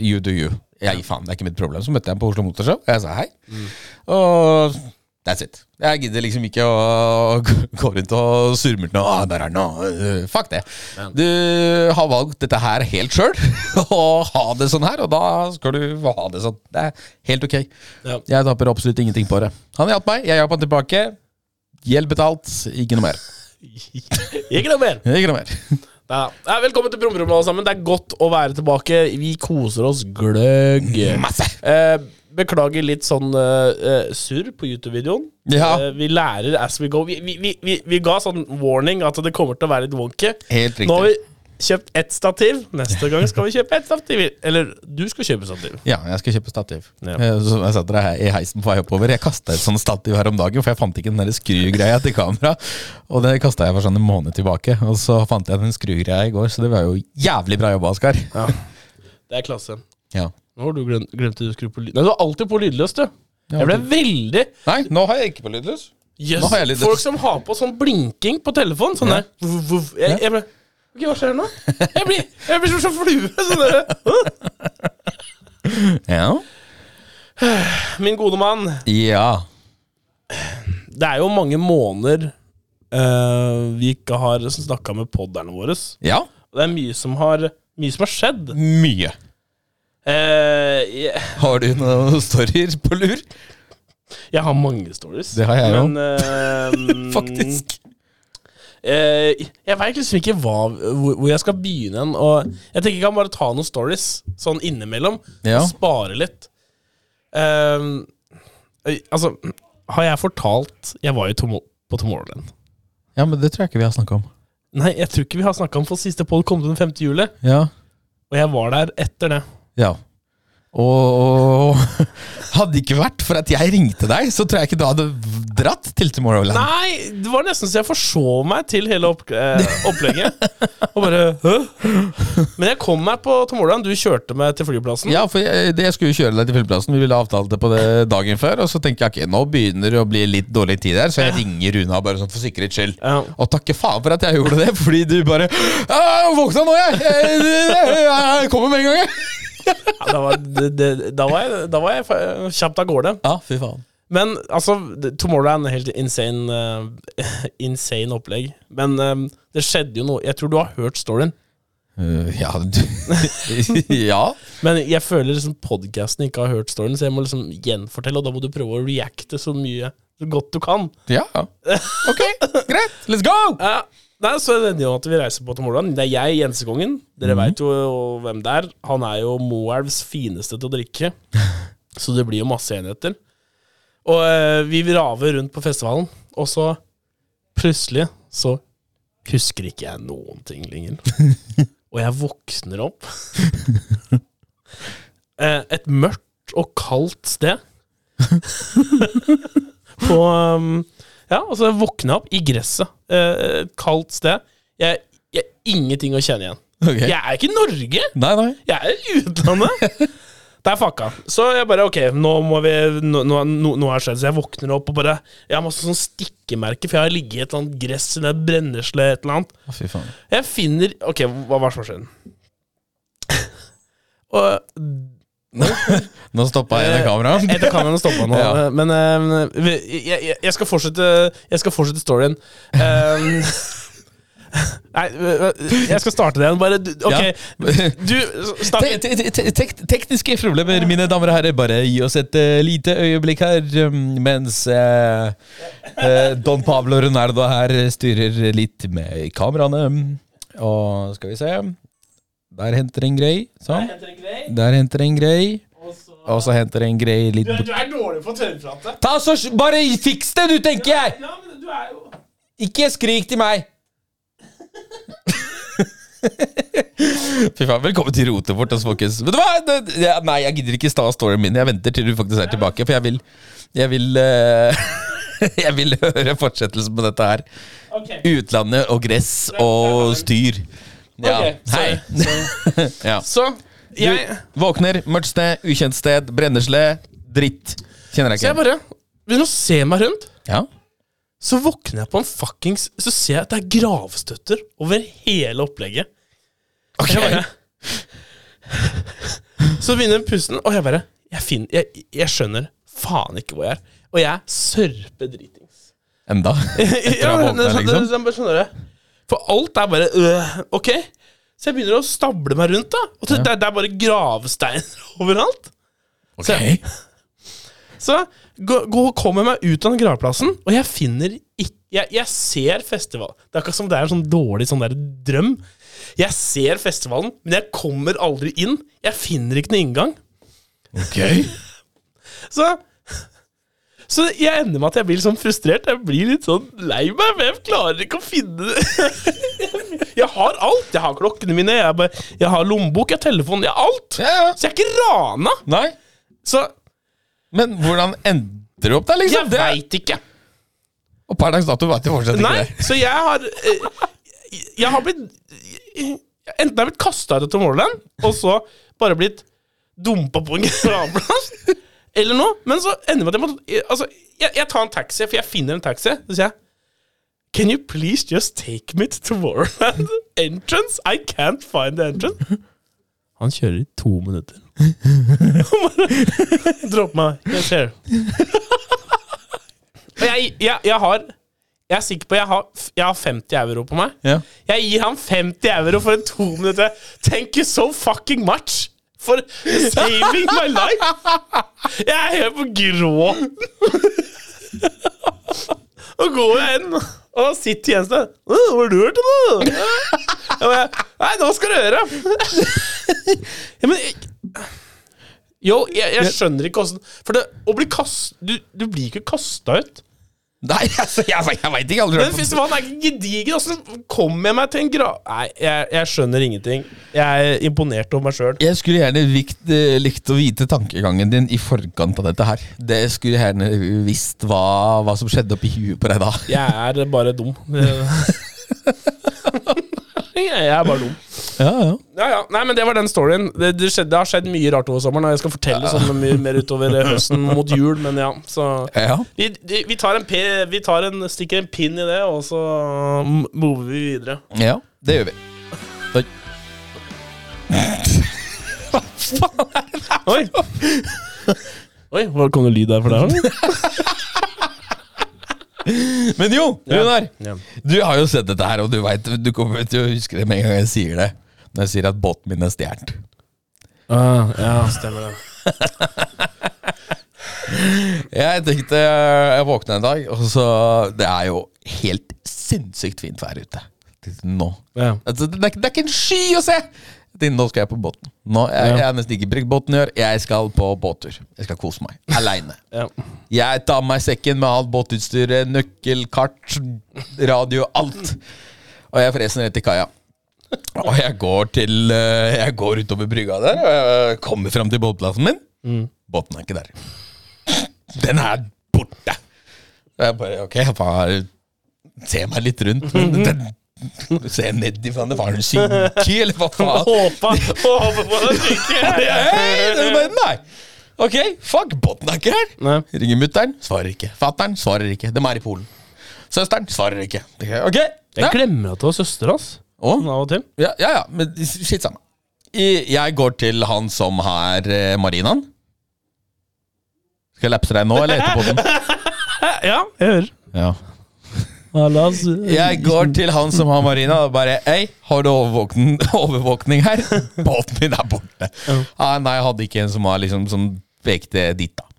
[SPEAKER 4] You do you. Jeg gir faen, det er ikke mitt problem. Så møtte jeg han på Oslo Motorshow, og jeg sa hei. Og that's it. Jeg gidder liksom ikke å gå rundt og surmultne og ah, der er noe. Fuck det. Du har valgt dette her helt sjøl, og ha det sånn her, og da skal du få ha det sånn. Det er helt ok.
[SPEAKER 3] Ja.
[SPEAKER 4] Jeg taper absolutt ingenting på det. Han hjalp meg, jeg hjalp han tilbake. Gjeld betalt, ikke noe mer.
[SPEAKER 3] Ikke noe mer.
[SPEAKER 4] Ikke noe mer.
[SPEAKER 3] Ja. Ja, velkommen til Brummerommet, alle sammen. Det er godt å være tilbake. Vi koser oss gløgg.
[SPEAKER 4] Masse.
[SPEAKER 3] Eh, beklager litt sånn eh, eh, surr på YouTube-videoen.
[SPEAKER 4] Ja.
[SPEAKER 3] Eh, vi lærer as we go. Vi, vi, vi, vi, vi ga sånn warning at det kommer til å være litt wonky.
[SPEAKER 4] Helt riktig.
[SPEAKER 3] Nå har vi kjøpt ett stativ. Neste gang skal vi kjøpe ett stativ. Eller du skal kjøpe stativ.
[SPEAKER 4] Ja, jeg skal kjøpe stativ.
[SPEAKER 3] Ja.
[SPEAKER 4] Eh, Som jeg satt der her i heisen på vei oppover. Jeg kasta et sånt stativ her om dagen, for jeg fant ikke den der skrugreia til kamera. Og det kasta jeg for sånn en måned tilbake. Og så fant jeg den skrugreia i går, så det var jo jævlig bra jobba, Oskar. Ja.
[SPEAKER 3] Det er klasse. Nå har du glemt, glemte du å skru på lyd... Nei, du har alltid på lydløst, du. Jeg ble veldig
[SPEAKER 4] Nei, nå har jeg ikke på lydløs.
[SPEAKER 3] Jøss,
[SPEAKER 4] Nå har jeg litt-
[SPEAKER 3] folk som har på sånn blinking på telefon. Sånn der. Vuv, vuv. Jeg, jeg ble Ok, hva skjer nå? Jeg blir, jeg blir som en flue. Sånn der.
[SPEAKER 4] Ja.
[SPEAKER 3] Min gode mann,
[SPEAKER 4] ja.
[SPEAKER 3] det er jo mange måneder eh, vi ikke har snakka med podderne våre.
[SPEAKER 4] Ja.
[SPEAKER 3] Og det er mye som har, mye som har skjedd.
[SPEAKER 4] Mye.
[SPEAKER 3] Eh, jeg,
[SPEAKER 4] Har du noen storyer på lur?
[SPEAKER 3] jeg har mange stories.
[SPEAKER 4] Det har jeg jo.
[SPEAKER 3] men,
[SPEAKER 4] Mm.
[SPEAKER 3] eh,
[SPEAKER 4] Faktisk.
[SPEAKER 3] Eh, jeg veit liksom ikke hva, hvor, hvor jeg skal begynne hen. Og jeg tenker jeg kan bare ta noen stories sånn innimellom.
[SPEAKER 4] Ja.
[SPEAKER 3] Og spare litt. Ehm, eh, altså, har jeg fortalt Jeg var jo tomo på Tomorrowland.
[SPEAKER 4] Ja, men det tror jeg ikke vi har snakka om.
[SPEAKER 3] Nei, jeg tror ikke vi har snakka om for siste poll kom til den 5. juli.
[SPEAKER 4] Ja.
[SPEAKER 3] Og jeg var der etter det.
[SPEAKER 4] Ja. Og hadde det ikke vært for at jeg ringte deg, så tror jeg ikke du hadde dratt til Tomorrowland.
[SPEAKER 3] Nei, det var nesten så jeg forsov meg til hele opp eh, opplegget. og bare Hø? Men jeg kom meg på Tomorrowland. Du kjørte meg til flyplassen.
[SPEAKER 4] Ja, for jeg, det, jeg skulle jo kjøre deg til flyplassen, vi ville avtalt det på det dagen før. Og så tenker jeg ok, nå begynner det å bli litt dårlig tid her, så jeg ringer Runa bare sånn for sikkerhets skyld.
[SPEAKER 3] Ja.
[SPEAKER 4] Og takke faen for at jeg gjorde det, fordi du bare «Ja, Jeg våkna nå, jeg! Jeg, jeg, jeg kommer med en gang, jeg!
[SPEAKER 3] Ja, da, var, det, det, da, var jeg, da var jeg fa- kjapt av gårde.
[SPEAKER 4] Ja, fy faen.
[SPEAKER 3] Men altså, det- Tomorrowland er helt insane, eh, insane opplegg. Men eh, det skjedde jo noe Jeg tror du har hørt storyen.
[SPEAKER 4] Øh, ja, du Ja.
[SPEAKER 3] Men jeg føler liksom podkasten ikke har hørt storyen, så jeg må liksom gjenfortelle, og da må du prøve å reacte så mye så godt du kan.
[SPEAKER 4] Ja. Ok, greit. Let's go!
[SPEAKER 3] Ja, nei, så det ender jo at vi reiser på Tomorrowland. Det er jeg, Jensekongen. Dere vet veit jo hvem det er. Han er jo Moelvs fineste til å drikke. Så det blir jo masse enheter. Og eh, vi raver rundt på festivalen, og så plutselig så husker ikke jeg noen ting lenger. Og jeg våkner opp Eh, Et mørkt og kaldt sted. På um, ja, og så våkna jeg opp i gresset. eh, Et kaldt sted. Jeg, jeg ingenting å kjenne igjen.
[SPEAKER 4] Ok.
[SPEAKER 3] Jeg er ikke i Norge!
[SPEAKER 4] Nei, nei.
[SPEAKER 3] Jeg er i utlandet! Det er fucka. Så jeg bare OK, nå må vi Nå, nå, nå, nå har det skjedd. Så jeg våkner opp og bare Jeg har masse sånn stikkemerker, for jeg har ligget i et eller annet gress eller et brennesle et eller annet.
[SPEAKER 4] Å, Fy faen.
[SPEAKER 3] Jeg finner OK, hva var det som skjedde? Og
[SPEAKER 4] Nå stoppa jeg
[SPEAKER 3] Eh,
[SPEAKER 4] det kameraet.
[SPEAKER 3] Jeg tar kameraet og stopper nå.
[SPEAKER 4] Ja.
[SPEAKER 3] Men eh, vi- jeg, jeg, jeg skal fortsette Jeg skal fortsette storyen. Eh, Ehm, Nei, jeg skal starte den. Bare du-
[SPEAKER 4] Ja.
[SPEAKER 3] Ok, du snakk
[SPEAKER 4] Te- te- te- tek- Tekniske problemer, mine damer og herrer. Bare gi oss et eh, lite øyeblikk her, um, mens eh, eh, Don Pablo Ronaldo her styrer litt med kameraene. Og skal vi se Der henter en grei. Sånn. Der henter en grei. Og så henter en grei litt bort.
[SPEAKER 3] er dårlig på tørrprate.
[SPEAKER 4] Ta så, s- Bare fiks det, du, tenker jeg!
[SPEAKER 3] Ja, men du er jo
[SPEAKER 4] Ikke skrik til meg! Fy faen, Velkommen til rotet vårt, altså, folkens. Vet du hva? Det- ja, Nei, jeg gidder ikke sta storyen min. Jeg venter til du faktisk er tilbake, for jeg vil Jeg vil, eh, jeg vil høre fortsettelsen på dette her.
[SPEAKER 3] Ok.
[SPEAKER 4] Utlandet og gress og styr. Ja.
[SPEAKER 3] Ok,
[SPEAKER 4] Hei.
[SPEAKER 3] sorry,
[SPEAKER 4] Ja.
[SPEAKER 3] Så jeg
[SPEAKER 4] Du våkner, mørkt sted, ukjent sted, brennesle, dritt. Kjenner jeg
[SPEAKER 3] Så jeg
[SPEAKER 4] ikke.
[SPEAKER 3] bare begynner å se meg rundt.
[SPEAKER 4] Ja.
[SPEAKER 3] Så våkner jeg på en fuckings Så ser jeg at det er gravstøtter over hele opplegget.
[SPEAKER 4] Ok.
[SPEAKER 3] Jeg bare, så begynner pusten, og jeg bare Jeg, finner, jeg, jeg skjønner faen ikke hvor jeg er. Og jeg er sørpedritings.
[SPEAKER 4] Enda. Etter
[SPEAKER 3] Ja,
[SPEAKER 4] å ha
[SPEAKER 3] men det- sånn- det-
[SPEAKER 4] våknet, liksom.
[SPEAKER 3] det- det- skjønner du? For alt er bare øh, Ok. Så jeg begynner å stable meg rundt, da. Og det, det er bare gravsteiner overalt.
[SPEAKER 4] Ok.
[SPEAKER 3] Så gå, gå, kommer meg ut av den gravplassen, og jeg finner ikke jeg, jeg ser festival. Det er akkurat som det er en sånn dårlig sånn der drøm. Jeg ser festivalen, men jeg kommer aldri inn. Jeg finner ikke noen inngang.
[SPEAKER 4] Ok.
[SPEAKER 3] Så, så jeg ender med at jeg blir litt sånn frustrert. Jeg blir litt sånn lei meg, for jeg klarer ikke å finne det. Jeg har alt. Jeg har klokkene mine, jeg, bare, jeg har lommebok, jeg har telefon, jeg har alt.
[SPEAKER 4] Ja, ja.
[SPEAKER 3] Så jeg er ikke rana.
[SPEAKER 4] Nei.
[SPEAKER 3] Så
[SPEAKER 4] Men hvordan endte du opp der, liksom?
[SPEAKER 3] jeg
[SPEAKER 4] Det-
[SPEAKER 3] veit ikke.
[SPEAKER 4] Og per dags dato vet jeg fortsatt ikke
[SPEAKER 3] Nei,
[SPEAKER 4] det.
[SPEAKER 3] så jeg har eh, Jeg har blitt Enten har jeg blitt kasta ut av Tomorrowland, og så bare blitt dumpa på en gravplass, eller noe. Men så ender det med at jeg må Altså, jeg, jeg tar en taxi, for jeg finner en taxi. Så sier jeg Can you please just take me to Tomorrowland entrance? I can't find the entrance. Han kjører i to minutter. Han bare Dropp meg. Yes, here. Og jeg, jeg, jeg har Jeg er sikker på jeg har, jeg har 50 euro på meg.
[SPEAKER 4] Ja.
[SPEAKER 3] Jeg gir han 50 euro for en to minutter. Thank you so fucking much for saving my life! Jeg er helt på gråten. Og går jeg inn, og da sitter Jens der. «Å, Hva har du hørt om, da? Jeg bare, Nei, nå skal du høre. Ja, men jeg, Yo, jeg, jeg skjønner ikke åssen For det, å bli kast... Du, du blir ikke kasta ut.
[SPEAKER 4] Nei, altså, jeg, vet- jeg veit ikke. Aldri
[SPEAKER 3] Den
[SPEAKER 4] hørt om.
[SPEAKER 3] festivalen er ikke gedigen. Åssen kommer jeg meg til en grav... Nei, jeg, jeg skjønner ingenting. Jeg er imponert over meg sjøl.
[SPEAKER 4] Jeg skulle gjerne vikt, eh, likt å vite tankegangen din i forkant av dette her. Det skulle jeg gjerne visst hva, hva som skjedde oppi huet på deg da.
[SPEAKER 3] Jeg er bare dum. jeg er bare dum.
[SPEAKER 4] Ja, ja.
[SPEAKER 3] Ja, ja. Nei, men Det var den storyen. Det, det, skjedde, det har skjedd mye rart over sommeren. Og jeg skal fortelle sånn mye mer utover eh, høsten mot jul, men ja. Så
[SPEAKER 4] ja.
[SPEAKER 3] vi, vi- vi, tar en, pe- vi tar en, stikker en pin i det, og så mm, mover vi videre.
[SPEAKER 4] Ja, det gjør vi. Oi.
[SPEAKER 3] Oi! Oi, hva kom det lyd der for deg?
[SPEAKER 4] Men jo, Runar.
[SPEAKER 3] Ja.
[SPEAKER 4] Du har jo sett dette her, og du vet, du kommer til å huske det med en gang jeg sier det. Når jeg sier at båten min er stjålet.
[SPEAKER 3] Ah, ja, stemmer det.
[SPEAKER 4] Jeg tenkte Jeg våkna en dag, og så Det er jo helt sinnssykt fint vær ute. Tenkte, Nå.
[SPEAKER 3] Ja.
[SPEAKER 4] Altså, det, er, ikke- det er ikke en sky å se! Jeg tenkte, Nå skal jeg på båten. Nå, jeg,
[SPEAKER 3] Ja.
[SPEAKER 4] jeg har nesten ikke brukt båten i år. Jeg skal på båttur. Jeg skal kose meg. Aleine.
[SPEAKER 3] Ja.
[SPEAKER 4] Jeg tar med meg sekken med alt båtutstyret, nøkkel, kart, radio, alt. Og jeg freser ned til kaia. Og jeg går til eh, Jeg går utover brygga der, og jeg eh, kommer fram til båtplassen min. Båten er ikke der. Den er borte! Og jeg bare OK, jeg bare ser meg litt rundt. Men den, ser jeg ned i faen, det var en sinke, eller hva faen?
[SPEAKER 3] Håpa, håpa på det
[SPEAKER 4] Hei, det er bare- Nei! Ok, fuck, båten er ikke her.
[SPEAKER 3] Nei.
[SPEAKER 4] Ringer mutter'n, svarer ikke. Fatter'n svarer ikke. De er i Polen. Søsteren svarer ikke. Ok,
[SPEAKER 3] Jeg
[SPEAKER 4] ja.
[SPEAKER 3] glemmer at du har søster, ass.
[SPEAKER 4] Å,
[SPEAKER 3] Av og til.
[SPEAKER 4] ja, ja, ja, men skitt sammen. I- Jeg går til han som har eh, marinaen. Skal jeg lapse deg nå, eller etterpå? den?
[SPEAKER 3] Ja, jeg hører.
[SPEAKER 4] Ja. Jeg går til han som har marina og bare Hei, har du overvåkning, overvåkning her? Båten min er borte. Ah, nei, jeg hadde ikke en som var liksom sånn pekte dit, da.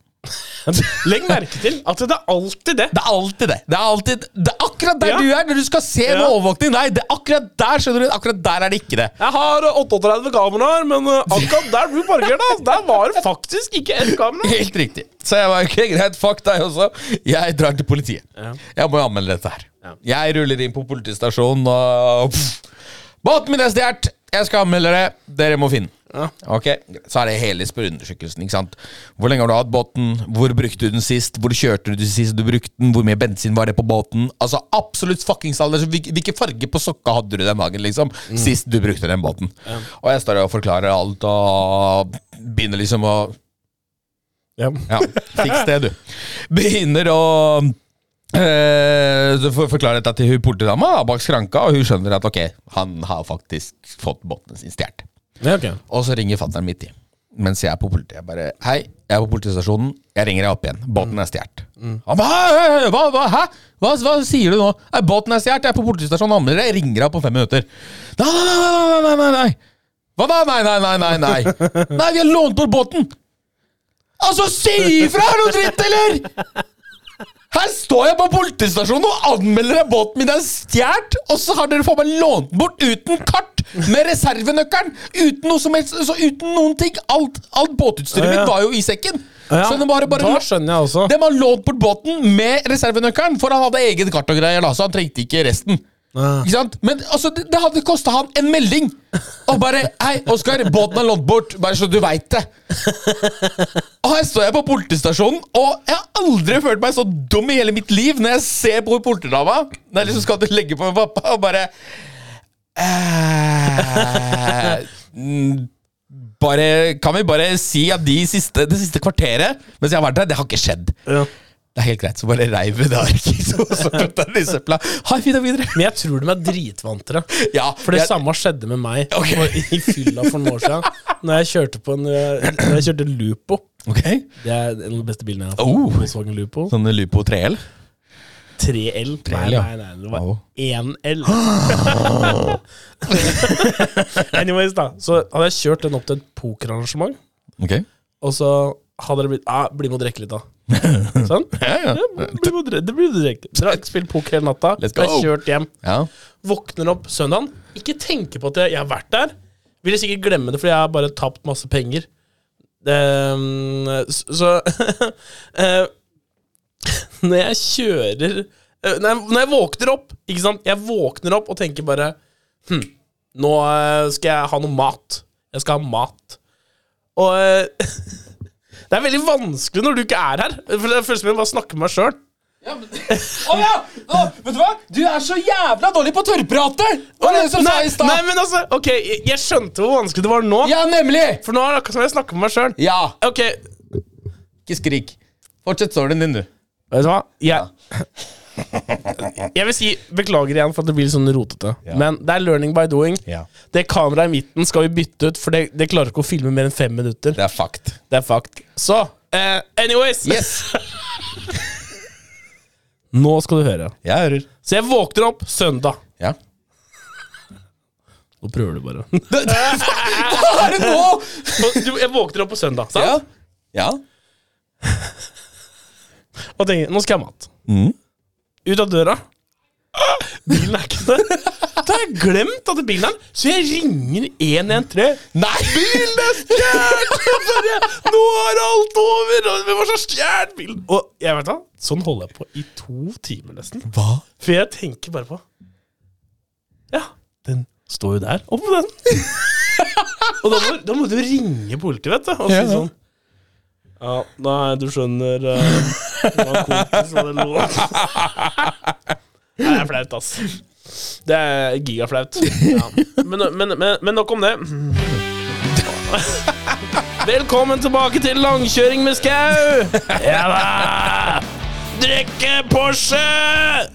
[SPEAKER 3] Legg merke til at det er alltid det.
[SPEAKER 4] Det er alltid det. Det er alltid Det er akkurat der
[SPEAKER 3] Ja.
[SPEAKER 4] du er når du skal se en
[SPEAKER 3] Ja.
[SPEAKER 4] overvåkning. Nei, det er akkurat der, skjønner du. Akkurat der er det ikke det.
[SPEAKER 3] Jeg har eh, 38 kameraer, men eh, akkurat der du parkerte, altså, der var det faktisk ikke ett kamera.
[SPEAKER 4] Helt riktig. Så jeg var ok, greit, fuck deg også. Jeg drar til politiet.
[SPEAKER 3] Ja.
[SPEAKER 4] Jeg må jo anmelde dette her.
[SPEAKER 3] Ja.
[SPEAKER 4] Jeg ruller inn på politistasjonen og pff, Båten min er stjålet! Jeg skal anmelde det. Dere må finne den.
[SPEAKER 3] Ja.
[SPEAKER 4] Ok, Så er det hele spørreundersøkelsen. ikke sant? Hvor lenge har du hatt båten? Hvor brukte du den sist? Hvor kjørte du den sist du brukte den? Hvor mye bensin var det på båten? Altså, absolutt fuckings alder. Så hvilke- Hvilken farge på sokka hadde du den dagen, liksom?
[SPEAKER 3] Mm.
[SPEAKER 4] Sist du brukte den båten. Og jeg står og forklarer alt og begynner liksom å ja, fiks det, du. Begynner å eh, for, forklare dette til hun politidama da, bak skranka, og hun skjønner at ok, han har faktisk fått båten sin stjålet.
[SPEAKER 3] Ja, ok.
[SPEAKER 4] Og så ringer fatter'n midt i, mens jeg er på politiet. Jeg bare Hei, jeg er på politistasjonen. Jeg ringer deg opp igjen. Båten er stjålet. Han bare «Hæ, hæ, hæ, hva, hva, hæ? Hva, hva sier du nå? Nei, båten er stjålet. Jeg er på politistasjonen og anmelder det. Jeg ringer deg opp om fem minutter. Nei, nei, nei, nei, nei, nei, nei. Hva da? Nei, nei, nei, nei, nei. Nei, vi har lånt bort båten! Altså, si ifra! Er det noe dritt, eller?! Her står jeg på politistasjonen og anmelder at båten min er stjålet, og så har dere faen meg lånt den bort uten kart, med reservenøkkelen, uten noe som helst, så uten noen ting. Alt, alt båtutstyret
[SPEAKER 3] Ja, ja.
[SPEAKER 4] mitt var jo i sekken.
[SPEAKER 3] Ja,
[SPEAKER 4] så de bare, bare
[SPEAKER 3] da skjønner jeg også.
[SPEAKER 4] De har lånt bort båten med reservenøkkelen, for han hadde eget kart og greier, da, så han trengte ikke resten.
[SPEAKER 3] Ja.
[SPEAKER 4] Ikke sant? Men altså, det, det hadde kosta han en melding. Og bare 'Hei, Oskar, båten er lånt bort.' Bare så du veit det. Og her står jeg på politistasjonen, og jeg har aldri følt meg så dum i hele mitt liv når jeg ser på politidama når jeg liksom skal til å legge på pappa, og bare eh, mm, Bare Kan vi bare si at de siste, det siste kvarteret mens jeg har vært der, det har ikke skjedd.
[SPEAKER 3] Ja.
[SPEAKER 4] Det er helt greit, så bare reiv vi det arket, og så putta jeg det i søpla. Ha en fin dag videre.
[SPEAKER 3] Men jeg tror de er dritvant til det.
[SPEAKER 4] Ja,
[SPEAKER 3] For det
[SPEAKER 4] jeg-
[SPEAKER 3] samme skjedde med meg
[SPEAKER 4] Ok.
[SPEAKER 3] for- i fylla for noen år siden. Når jeg kjørte på en eh, Når jeg kjørte Lupo.
[SPEAKER 4] Ok.
[SPEAKER 3] Det er en av de beste bilene jeg har hatt.
[SPEAKER 4] Oh.
[SPEAKER 3] Volkswagen Lupo.
[SPEAKER 4] Sånne Lupo 3L?
[SPEAKER 3] 3L. Nei,
[SPEAKER 4] 3L, ja.
[SPEAKER 3] nei, nei, det var
[SPEAKER 4] Au.
[SPEAKER 3] 1L. Anyways, da. Så hadde jeg kjørt den opp til et pokerarrangement,
[SPEAKER 4] Ok.
[SPEAKER 3] og så hadde det blitt ah, Bli med og drikke litt, da. Sånn?
[SPEAKER 4] Ja, ja.
[SPEAKER 3] Ja, bli med og dre- det blir du drikke. Drakk, spilt poker hele natta.
[SPEAKER 4] Let's go.
[SPEAKER 3] Ble kjørt hjem.
[SPEAKER 4] ja.
[SPEAKER 3] Våkner opp søndagen, ikke tenker på at jeg, jeg har vært der. Vil jeg sikkert glemme det, fordi jeg har bare tapt masse penger. Ehm, s- så eh, Når jeg kjører eh, når jeg, når jeg våkner opp, ikke sant? Jeg våkner opp og tenker bare Hm, nå eh, skal jeg ha noe mat. Jeg skal ha mat. Og eh, Det er veldig vanskelig når du ikke er her. For Det føles som jeg bare snakker med meg sjøl.
[SPEAKER 4] Å ja! Å, vet du hva? Du er så jævla dårlig på tørrprate! Det var det som sa
[SPEAKER 3] Nei,
[SPEAKER 4] i stad.
[SPEAKER 3] nei, men altså, ok, jeg, jeg skjønte hvor vanskelig det var nå.
[SPEAKER 4] Ja, nemlig!
[SPEAKER 3] For nå er det akkurat som jeg snakker med meg sjøl.
[SPEAKER 4] Ja.
[SPEAKER 3] Ok,
[SPEAKER 4] Ikke skrik. Fortsett storyen din, du.
[SPEAKER 3] vet du hva? Jeg, jeg vil si beklager igjen for at det blir litt sånn rotete. Men det er learning by doing.
[SPEAKER 4] Ja.
[SPEAKER 3] Det kameraet i midten skal vi bytte ut, for det, det klarer ikke å filme mer enn fem minutter.
[SPEAKER 4] Det er fucked.
[SPEAKER 3] Det er fucked. Så eh, anyways
[SPEAKER 4] Yes!
[SPEAKER 3] Nå skal du høre.
[SPEAKER 4] Jeg hører.
[SPEAKER 3] Så jeg våkner opp søndag.
[SPEAKER 4] Ja.
[SPEAKER 3] Nå prøver du bare.
[SPEAKER 4] Hva er det nå?!
[SPEAKER 3] Du, jeg våkner opp på søndag sant?
[SPEAKER 4] Ja. ja.
[SPEAKER 3] og tenker nå skal jeg ha mat. Ut av døra. Ah, Bilen er ikke der. Da har jeg glemt at bilen er der, så jeg ringer 113.
[SPEAKER 4] Nei!
[SPEAKER 3] Bilen er stjålet! Nå er alt over! og Hvem har så stjålet bilen? Og jeg vet da, Sånn holder jeg på i to timer nesten.
[SPEAKER 4] Hva?
[SPEAKER 3] For jeg tenker bare på Ja, den står jo der. Opp med den! og da må, da må du ringe politiet, vet du. Og si
[SPEAKER 4] Ja, ja.
[SPEAKER 3] sånn Ja, nei, du skjønner eh, Det var en kompis som hadde lånt Det er flaut, ass. Det er gigaflaut. Ja. Men, men, men, men nok om det. Velkommen tilbake til langkjøring med skau! Ja da! Drikke Porsche!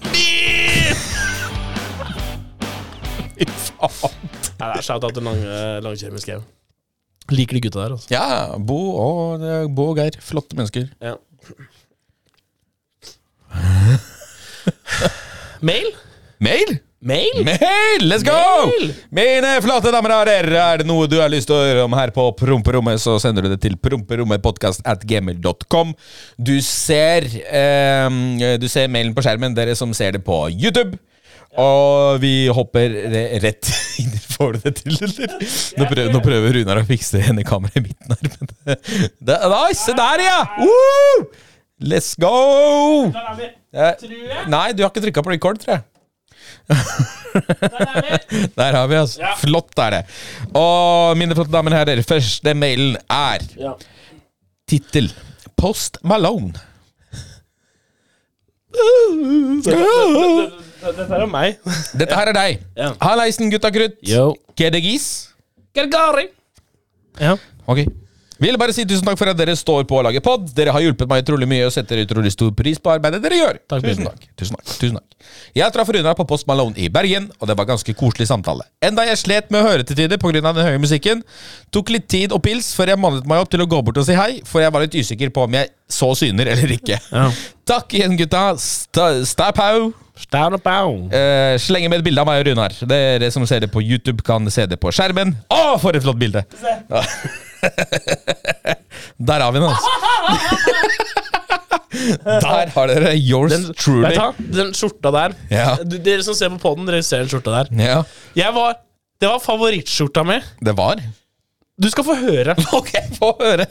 [SPEAKER 3] Bil!
[SPEAKER 4] Fy faen.
[SPEAKER 3] Nei, det er shout-out til eh, lang, langkjøring med skau. Liker de gutta der, altså.
[SPEAKER 4] Ja, Bo og, eh, Bo og Geir. Flotte mennesker.
[SPEAKER 3] Ja. Mail?
[SPEAKER 4] Mail?
[SPEAKER 3] Mail?
[SPEAKER 4] Mail! Let's go!
[SPEAKER 3] Mail!
[SPEAKER 4] Mine flate damer og herrer, er det noe du har lyst til å høre om her på promperommet, så sender du det til promperommetpodkast at gmail.com. Du ser eh, Du ser mailen på skjermen, dere som ser det på YouTube. Og vi hopper re- rett inn Får du det til, eller? Nå prøver, nå prøver Runar å fikse henne kameraet i midten her, men det- det, Nei, se der, ja! Woo! Let's go!
[SPEAKER 3] Der er vi.
[SPEAKER 4] Eh,
[SPEAKER 3] Tror jeg.
[SPEAKER 4] Nei, du har ikke trykka på record, tror jeg. Der har vi oss.
[SPEAKER 3] Ja.
[SPEAKER 4] Flott er det. Og mine flotte damer og herrer, første mailen er
[SPEAKER 3] Ja.
[SPEAKER 4] tittel Post Malone.
[SPEAKER 3] Dette er meg.
[SPEAKER 4] Dette her er deg.
[SPEAKER 3] Ja.
[SPEAKER 4] Hallaisen, gutta krutt.
[SPEAKER 3] Yo.
[SPEAKER 4] Kedegis.
[SPEAKER 3] Gergari. Ja.
[SPEAKER 4] Ok. Vil bare si tusen takk for at dere står på og lager pod. Dere har hjulpet meg utrolig mye og setter utrolig stor pris på arbeidet dere gjør.
[SPEAKER 3] Takk,
[SPEAKER 4] tusen,
[SPEAKER 3] Bjørn.
[SPEAKER 4] takk. tusen takk. Tusen takk. Jeg traff Runar på Post Malone i Bergen, og det var ganske koselig samtale. Enda jeg slet med å høre til tider pga. den høye musikken, tok litt tid og pils før jeg mannet meg opp til å gå bort og si hei, for jeg var litt usikker på om jeg så syner eller ikke.
[SPEAKER 3] Ja.
[SPEAKER 4] Takk igjen, gutta. Sta- Stapau.
[SPEAKER 3] Down and bound.
[SPEAKER 4] Eh, slenger med et bilde av meg og Runar. Dere som ser det på YouTube, kan se det på skjermen. Å, for et flott bilde! Ja. Der har vi den, altså. Der har dere yours truly.
[SPEAKER 3] Vet du hva? Den skjorta der.
[SPEAKER 4] Ja.
[SPEAKER 3] Du- Dere som ser på podden, dere ser den skjorta der.
[SPEAKER 4] Ja,
[SPEAKER 3] Jeg var, det var favorittskjorta mi.
[SPEAKER 4] det var.
[SPEAKER 3] Du skal få høre.
[SPEAKER 4] Ok, få høre.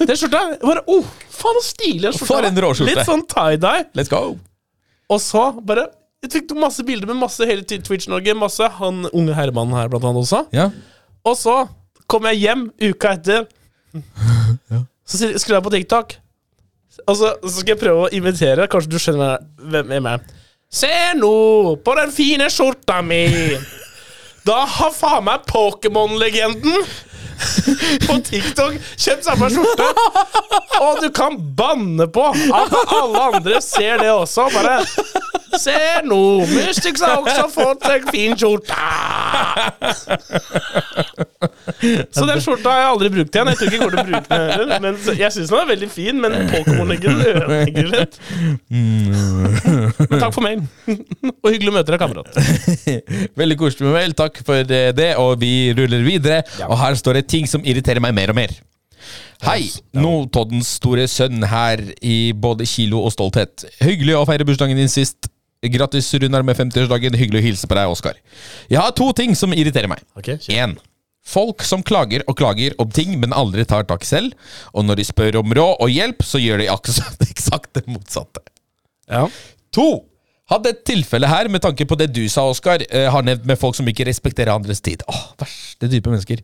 [SPEAKER 3] Den skjorta jeg bare, oh, Faen, så stilig den skjorta
[SPEAKER 4] For en
[SPEAKER 3] var.
[SPEAKER 4] rå skjorte.
[SPEAKER 3] Litt sånn tie-dye.
[SPEAKER 4] Let's go.
[SPEAKER 3] Og så bare jeg fikk masse bilder med masse hele Twi- Twitch-Norge. Masse han unge herremannen her, blant annet også.
[SPEAKER 4] Ja.
[SPEAKER 3] Og så kom jeg hjem uka etter. Så sier- skulle jeg på TikTok. Og så, så skal jeg prøve å imitere. Kanskje du skjønner hvem jeg er. Se nå på den fine skjorta mi! Da har faen meg Pokémon-legenden på TikTok kjøpt samme skjorte! Og du kan banne på at alle andre ser det også. Bare Se nå! Mystics har også fått en fin skjorte! Så den skjorta har jeg aldri brukt igjen. Jeg tror ikke jeg kommer til å bruke den heller. Men så- jeg syns den er veldig fin, men Pokémon-leggen ødelegger litt. Men takk for mailen. Og hyggelig å møte deg, kamerat.
[SPEAKER 4] Veldig koselig med mail. Takk for eh, det, og vi ruller videre. Og her står det ting som irriterer meg mer og mer. Hei, Notoddens store sønn her i både kilo og stolthet. Hyggelig å feire bursdagen din sist. Grattis, Runar, med 50-årsdagen. Hyggelig å hilse på deg, Oskar. Jeg har to ting som irriterer meg.
[SPEAKER 3] Ok, kjør.
[SPEAKER 4] En. Folk som klager og klager om ting, men aldri tar tak selv. Og når de spør om råd og hjelp, så gjør de akkurat eksakt det motsatte.
[SPEAKER 3] Ja.
[SPEAKER 4] To. Hadde et tilfelle her, med tanke på det du sa, Oskar, eh, har nevnt med folk som ikke respekterer andres tid. Åh, verste type mennesker.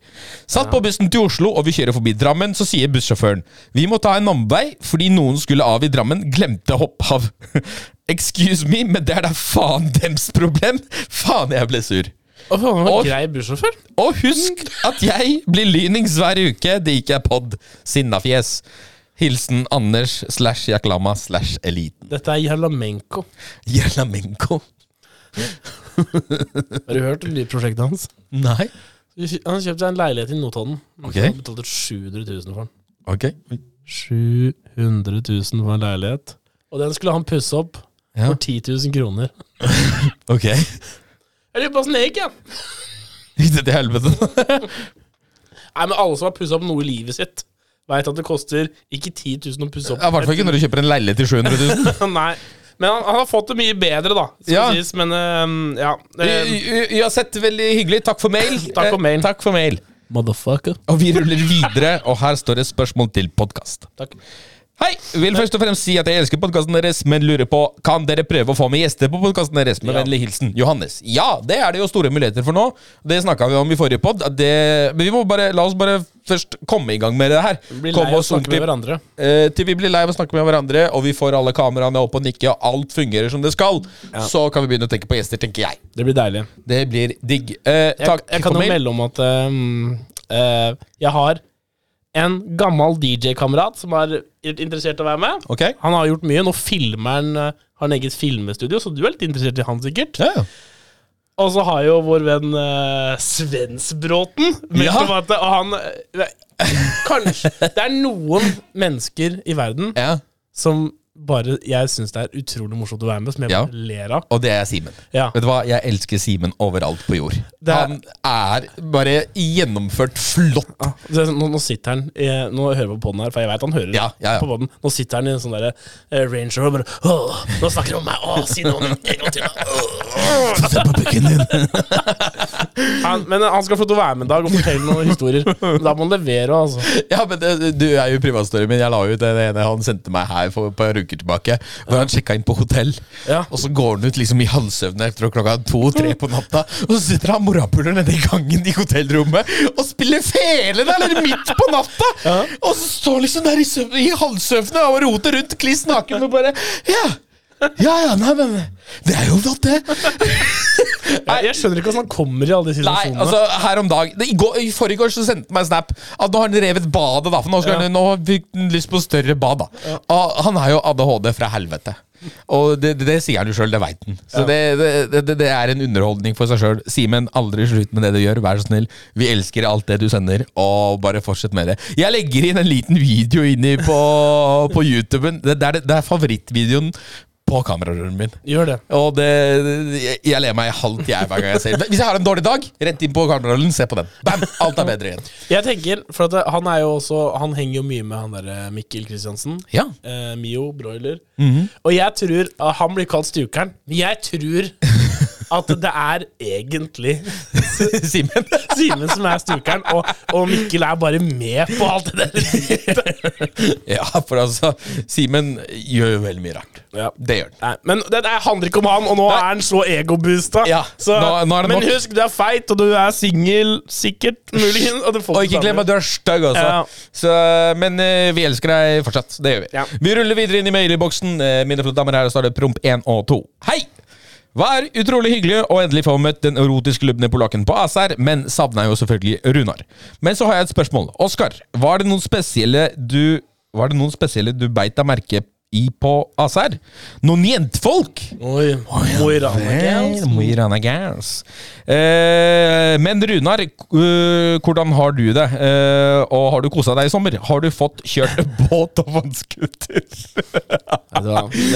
[SPEAKER 4] Satt på bussen til Oslo, og vi kjører forbi Drammen, så sier bussjåføren Vi må ta en omvei, fordi noen skulle av i Drammen, glemte å hoppe av. Excuse me, men det er da faen dems problem! Faen, jeg ble sur.
[SPEAKER 3] Og faen,
[SPEAKER 4] Og-
[SPEAKER 3] han var grei bussjåfør.
[SPEAKER 4] Og husk at jeg blir lynings hver uke, det ikke er pod. Sinnafjes. Hilsen Anders slash Jaklama slash Eliten.
[SPEAKER 3] Dette er Jarlamenko.
[SPEAKER 4] Jelamenko.
[SPEAKER 3] Har du hørt om det prosjektet hans?
[SPEAKER 4] Nei.
[SPEAKER 3] Han kjøpte seg en leilighet i Notodden.
[SPEAKER 4] Ok.
[SPEAKER 3] Han betalte 700 000 for den.
[SPEAKER 4] Ok.
[SPEAKER 3] 700 000 for en leilighet. Og den skulle han pusse opp
[SPEAKER 4] Ja.
[SPEAKER 3] for 10 000 kroner.
[SPEAKER 4] Ok.
[SPEAKER 3] Jeg lurer på åssen det gikk, jeg.
[SPEAKER 4] Gikk det til helvete?
[SPEAKER 3] Nei, men alle som har pussa opp noe i livet sitt, veit at det koster ikke 10 000 å pusse opp.
[SPEAKER 4] Ja, I hvert fall ikke når du kjøper en leilighet til 700 000.
[SPEAKER 3] Nei. Men han, han har fått det mye bedre, da. Skal
[SPEAKER 4] Ja.
[SPEAKER 3] sies, men ehm, ja. Ehm,
[SPEAKER 4] U- u- Uansett, veldig hyggelig. Takk for mail.
[SPEAKER 3] Takk for mail.
[SPEAKER 4] Eh, Takk for mail.
[SPEAKER 3] Motherfucker.
[SPEAKER 4] Og vi ruller videre, og her står det spørsmål til podkast.
[SPEAKER 3] Takk.
[SPEAKER 4] Hei! Vil først og fremst si at jeg elsker podkasten deres, men lurer på kan dere prøve å få med gjester på podkasten deres? Med
[SPEAKER 3] Ja.
[SPEAKER 4] vennlig hilsen Johannes. Ja, det er det jo store muligheter for nå. Det snakka vi om i forrige pod. at Det, men vi må bare, la oss bare først komme i gang med det her.
[SPEAKER 3] Blir lei
[SPEAKER 4] komme
[SPEAKER 3] av å
[SPEAKER 4] oss
[SPEAKER 3] snakke med
[SPEAKER 4] ordentlig
[SPEAKER 3] hverandre.
[SPEAKER 4] Eh, til vi blir lei av å snakke med hverandre, og vi får alle kameraene opp og nikke, og alt fungerer som det skal, så kan vi begynne å tenke på gjester, tenker jeg.
[SPEAKER 3] Det blir deilig.
[SPEAKER 4] Det blir digg. Eh,
[SPEAKER 3] Jeg,
[SPEAKER 4] takk
[SPEAKER 3] jeg kan
[SPEAKER 4] for
[SPEAKER 3] jo
[SPEAKER 4] mail.
[SPEAKER 3] melde om at ehm, eh, jeg har en gammel DJ-kamerat som er interessert i å være med.
[SPEAKER 4] Ok?
[SPEAKER 3] Han har gjort mye. Nå filmer han eh, har en eget filmstudio, så du er litt interessert i han, sikkert.
[SPEAKER 4] Ja.
[SPEAKER 3] Og så har jo vår venn eh, Svensbråten meldt
[SPEAKER 4] Ja.
[SPEAKER 3] om at og han eh, Kanskje Det er noen mennesker i verden
[SPEAKER 4] ja.
[SPEAKER 3] som bare jeg syns det er utrolig morsomt å være med, som jeg
[SPEAKER 4] Ja.
[SPEAKER 3] bare ler av.
[SPEAKER 4] Og det er Simen.
[SPEAKER 3] Ja.
[SPEAKER 4] Vet du hva, Jeg elsker Simen overalt på jord.
[SPEAKER 3] Det er-
[SPEAKER 4] Han er bare gjennomført flott.
[SPEAKER 3] Så jeg- Nå, nå sitter han i, Nå hører jeg på podden her, for jeg vet han hører
[SPEAKER 4] Ja, ja, ja.
[SPEAKER 3] på podden. Nå sitter han i en sånn derre eh, Range Rover og bare Åh, nå snakker han om meg! Åh, si noe om meg en gang til! da. Åh, åh».
[SPEAKER 4] Se på pukken din!
[SPEAKER 3] Han, men han skal få lov til å være med en dag og fortelle noen historier. Men Da må han levere, altså.
[SPEAKER 4] Ja, men det, Du er jo privatstoryen min. Jeg la ut den ene han sendte meg her for et par uker tilbake. Hvor han sjekka inn på hotell,
[SPEAKER 3] Ja.
[SPEAKER 4] og så går han ut liksom i halvsøvne etter klokka to-tre på natta. Og så sitter han morapuler nede i gangen i hotellrommet og spiller fele der eller midt på natta! Og så står liksom der i, søv- i halvsøvne og roter rundt kliss naken og bare Ja, ja, ja, nei, men Det er jo flott, det.
[SPEAKER 3] Jeg, jeg skjønner ikke hvordan han kommer i alle de
[SPEAKER 4] Nei,
[SPEAKER 3] situasjonene.
[SPEAKER 4] altså her om dag det, I, går, I forrige så sendte han meg en snap At nå har han revet badet da For nå, skal
[SPEAKER 3] Ja.
[SPEAKER 4] han, nå fikk han lyst på større bad da Og Han er jo ADHD fra helvete Og det, det, det sier han jo selv, det vet han Så det, det, det, det er en underholdning for seg selv Simen, aldri slutt med det du gjør Vær så snill Vi elsker alt det du sender Og bare fortsett med det Jeg legger inn en liten video inni på, på YouTuben det, det, er, det er favorittvideoen på kamerarøren min
[SPEAKER 3] Gjør det.
[SPEAKER 4] og det, jeg, jeg ler meg i halvt jeg hver gang jeg ser den. Hvis jeg har en dårlig dag, rett inn på kamerarullen, se på den. Bam! Alt er bedre igjen.
[SPEAKER 3] Jeg tenker, for at det, han er jo også Han henger jo mye med han derre Mikkel Kristiansen.
[SPEAKER 4] Ja. Mhm.
[SPEAKER 3] Eh, Mio Broiler. Og jeg tror ah, Han blir kalt Stukeren. Men jeg tror at det er egentlig
[SPEAKER 4] Simen.
[SPEAKER 3] Simen som er Stukeren, og, og Mikkel er bare med på alt det der.
[SPEAKER 4] Ja, for altså, Simen gjør jo veldig mye rart.
[SPEAKER 3] Ja.
[SPEAKER 4] Det gjør han.
[SPEAKER 3] Nei, men det, det handler ikke om han, og nå er han så egoboosta.
[SPEAKER 4] Ja,
[SPEAKER 3] Så,
[SPEAKER 4] nå- nå er det
[SPEAKER 3] men
[SPEAKER 4] nok.
[SPEAKER 3] husk, du er feit, og du er singel, sikkert. Muligens. Og, du får
[SPEAKER 4] Og ikke
[SPEAKER 3] det
[SPEAKER 4] glem
[SPEAKER 3] samme.
[SPEAKER 4] at du er stygg, altså.
[SPEAKER 3] Ja.
[SPEAKER 4] Så, men eh, vi elsker deg fortsatt. Det gjør vi.
[SPEAKER 3] Ja.
[SPEAKER 4] Vi ruller videre inn i mailboksen. Eh, mine flotte damer her, og starter promp 1 og 2. Hei! Var utrolig hyggelig å endelig få møtt den erotisk lubne polakken på ASR, men savna jo selvfølgelig Runar. Men så har jeg et spørsmål. Oskar, var det noen spesielle du Var det noen spesielle du beit deg merke i på ASR? Noen jentfolk?
[SPEAKER 3] Oi, Mo i Rana Girls.
[SPEAKER 4] Vel, Mo i Rana Girls. Eh, men Runar, eh, hvordan har du det? Eh, og har du kosa deg i sommer? Har du fått kjørt båt og vannskuter?
[SPEAKER 3] Det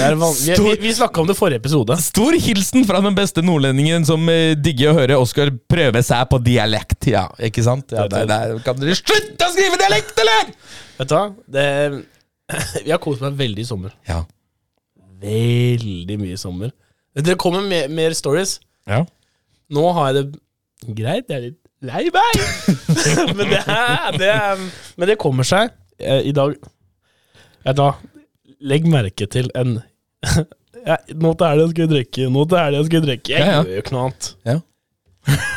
[SPEAKER 3] er van- Vi, vi, vi snakka om det i forrige episode.
[SPEAKER 4] Stor hilsen fra den beste nordlendingen som eh, digger å høre Oskar prøve seg på dialekt. Ja, ikke sant? Ja, der, der. Kan dere slutte å skrive dialekt, eller?!
[SPEAKER 3] Vet du hva? Det, vi har kost meg veldig i sommer.
[SPEAKER 4] Ja.
[SPEAKER 3] Veldig mye i sommer. Dere kommer med mer stories.
[SPEAKER 4] ja.
[SPEAKER 3] Nå har jeg det greit. Jeg er litt lei meg. men, det er, det er, men det kommer seg. Eh, I dag ja, da, Legg merke til en ja, Nå til helga skal vi drikke, nå til helga skal vi drikke. Jeg
[SPEAKER 4] Ja, ja.
[SPEAKER 3] gjør jo ikke noe annet.
[SPEAKER 4] Ja.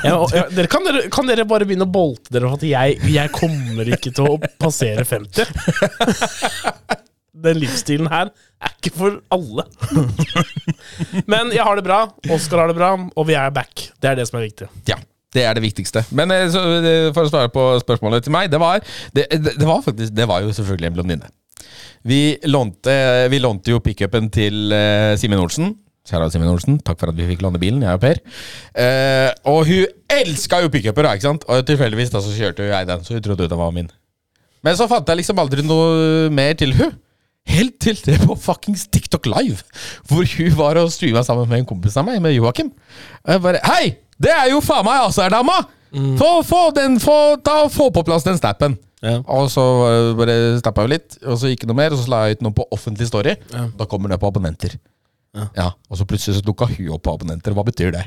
[SPEAKER 3] Ja, og, ja, dere, kan, dere, kan dere bare begynne å bolte dere for at jeg, jeg kommer ikke til å passere 50? Den livsstilen her er ikke for alle. Men jeg har det bra, Oskar har det bra, og vi er back. Det er det som er viktig.
[SPEAKER 4] Ja, det er det viktigste. Men eh, så, eh, for å svare på spørsmålet til meg, det var, det, eh, det, det var faktisk Det var jo selvfølgelig en blondine. Vi lånte, eh, vi lånte jo pickupen til eh, Simen Olsen. Kjære Simen Olsen, takk for at vi fikk låne bilen, jeg og Per. Eh, og hun elska jo pickuper, da, ikke sant? Og tilfeldigvis da så kjørte jo jeg den, så hun trodde jo den var min. Men så fant jeg liksom aldri noe mer til hun. Helt til det på fuckings TikTok Live, hvor hun var og streama sammen med en kompis av meg, med Joakim. Og jeg bare Hei! Det er jo faen meg ACR-dama! Få, få den, få, ta, og få på plass den snappen.
[SPEAKER 3] Ja.
[SPEAKER 4] Og så eh, bare snappa vi litt, og så gikk det noe mer, og så la jeg ut noe på offentlig story. Da kommer det på abonnenter. Ja. Og så plutselig så dukka hun opp på abonnenter. Hva betyr det?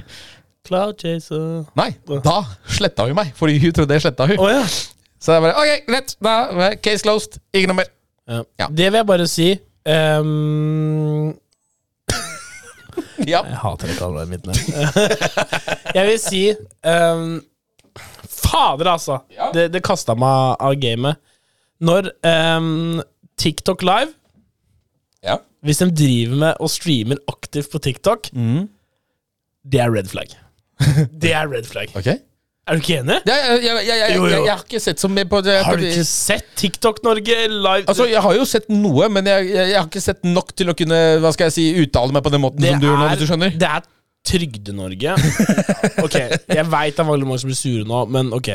[SPEAKER 3] Cloud chaser
[SPEAKER 4] Nei, da sletta hun meg, fordi hun trodde jeg sletta hun.
[SPEAKER 3] Å ja.
[SPEAKER 4] Så jeg bare OK, greit. Da, eh, case closed. Ikke noe mer. Ja.
[SPEAKER 3] Det vil jeg bare si. ehm,
[SPEAKER 4] Ja.
[SPEAKER 3] jeg hater det kameraet mitt nå. jeg vil si ehm, Fader, altså!
[SPEAKER 4] Ja.
[SPEAKER 3] Det, det kasta meg av gamet. Når ehm, TikTok Live
[SPEAKER 4] Ja.
[SPEAKER 3] Hvis de driver med og streamer aktivt på TikTok,
[SPEAKER 4] Mm.
[SPEAKER 3] det er red flag. Det er red flag.
[SPEAKER 4] Ok.
[SPEAKER 3] Er du ikke enig?
[SPEAKER 4] Ja, jeg, jeg, jeg, jeg,
[SPEAKER 3] Jo, jo.
[SPEAKER 4] jeg, jeg har ikke sett så mye på det.
[SPEAKER 3] Har du ikke sett TikTok Norge live?
[SPEAKER 4] Altså, Jeg har jo sett noe, men jeg, jeg, jeg har ikke sett nok til å kunne hva skal jeg si, uttale meg på den måten
[SPEAKER 3] Det
[SPEAKER 4] som du gjør nå.
[SPEAKER 3] er-
[SPEAKER 4] hvis du skjønner
[SPEAKER 3] Det er Trygde-Norge. ok, jeg veit det er veldig mange som blir sure nå, men ok.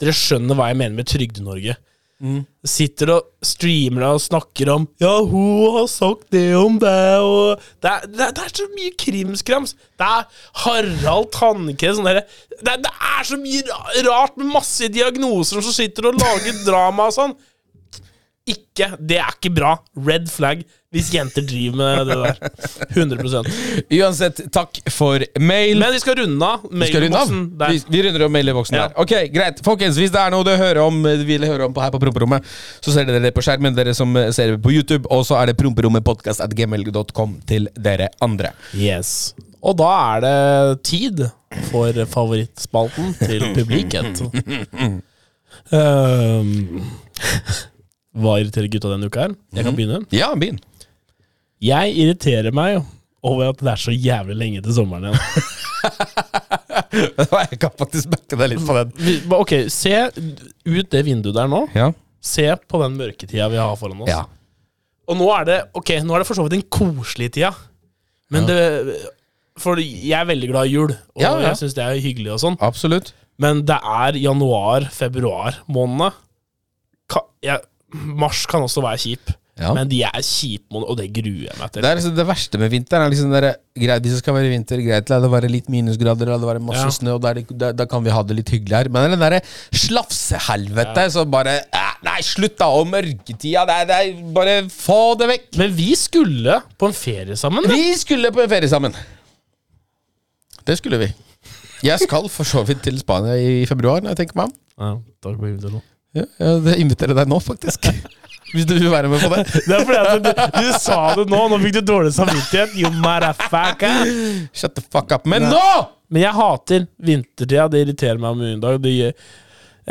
[SPEAKER 3] Dere skjønner hva jeg mener med Trygde-Norge.
[SPEAKER 4] Mm.
[SPEAKER 3] Sitter og streamer deg og snakker om Ja, hun har sagt det om deg, og Det er, det er, det er så mye krimskrams. Det er Harald Tannkrem sånn derre det, er- det er så mye ra- rart med masse diagnoser som sitter og lager drama og sånn. Ikke, Det er ikke bra. Red flag hvis jenter driver med det der. 100
[SPEAKER 4] Uansett, takk for mail.
[SPEAKER 3] Men vi skal runde av
[SPEAKER 4] Vi skal runde av.
[SPEAKER 3] mailboksen der.
[SPEAKER 4] Vi, vi runder om mailboksen
[SPEAKER 3] Ja.
[SPEAKER 4] der. Ok, greit. Folkens, hvis det er noe du hører om, eh, vil høre om på her på promperommet, så ser dere det på skjermen, dere som eh, ser det på YouTube. Og så er det promperommetpodkast.gml.com til dere andre.
[SPEAKER 3] Yes. Og da er det tid for favorittspalten til publikket. Um, hva irriterer gutta denne uka her? Jeg kan begynne.
[SPEAKER 4] Ja, begynn.
[SPEAKER 3] Jeg irriterer meg over at det er så jævlig lenge til sommeren igjen.
[SPEAKER 4] Jeg kan faktisk backe deg litt på den.
[SPEAKER 3] Vi- ba- Ok, se ut det vinduet der nå.
[SPEAKER 4] Ja.
[SPEAKER 3] Se på den mørketida vi har foran oss.
[SPEAKER 4] ja.
[SPEAKER 3] Og nå er det ok, nå er det for så vidt den koselige tida. Men det For jeg er veldig glad i jul, og
[SPEAKER 4] Ja, ja.
[SPEAKER 3] jeg syns det er hyggelig og sånn.
[SPEAKER 4] Absolutt.
[SPEAKER 3] Men det er januar, februar månedene. Ka- jeg- Mars kan også være kjip,
[SPEAKER 4] Ja.
[SPEAKER 3] men de er kjipe måneder, og det gruer jeg meg til.
[SPEAKER 4] Det, er liksom det verste med vinteren er liksom det der, greit, Hvis det skal være vinter, greit, la det være litt minusgrader, la det være masse
[SPEAKER 3] Ja.
[SPEAKER 4] snø, og da, er det, da, da kan vi ha det litt hyggelig her. Men det er den derre slafsehelvete som bare eh, Nei, slutt, da! Og mørketida! Det er, det er, bare få det vekk!
[SPEAKER 3] Men vi skulle på en ferie sammen. da.
[SPEAKER 4] Vi skulle på en ferie sammen. Det skulle vi. Jeg skal for så vidt til Spania i februar, når jeg tenker meg om.
[SPEAKER 3] Ja, takk for invitasjonen.
[SPEAKER 4] Ja, jeg inviterer deg nå, faktisk. Hvis du vil være med på det.
[SPEAKER 3] Det er fordi at du, du sa det nå. Nå fikk du dårlig samvittighet. You motherfucker.
[SPEAKER 4] Shut the fuck up. Men nå!
[SPEAKER 3] Men jeg hater vintertida. Det irriterer meg om en dag. Det gjør jeg,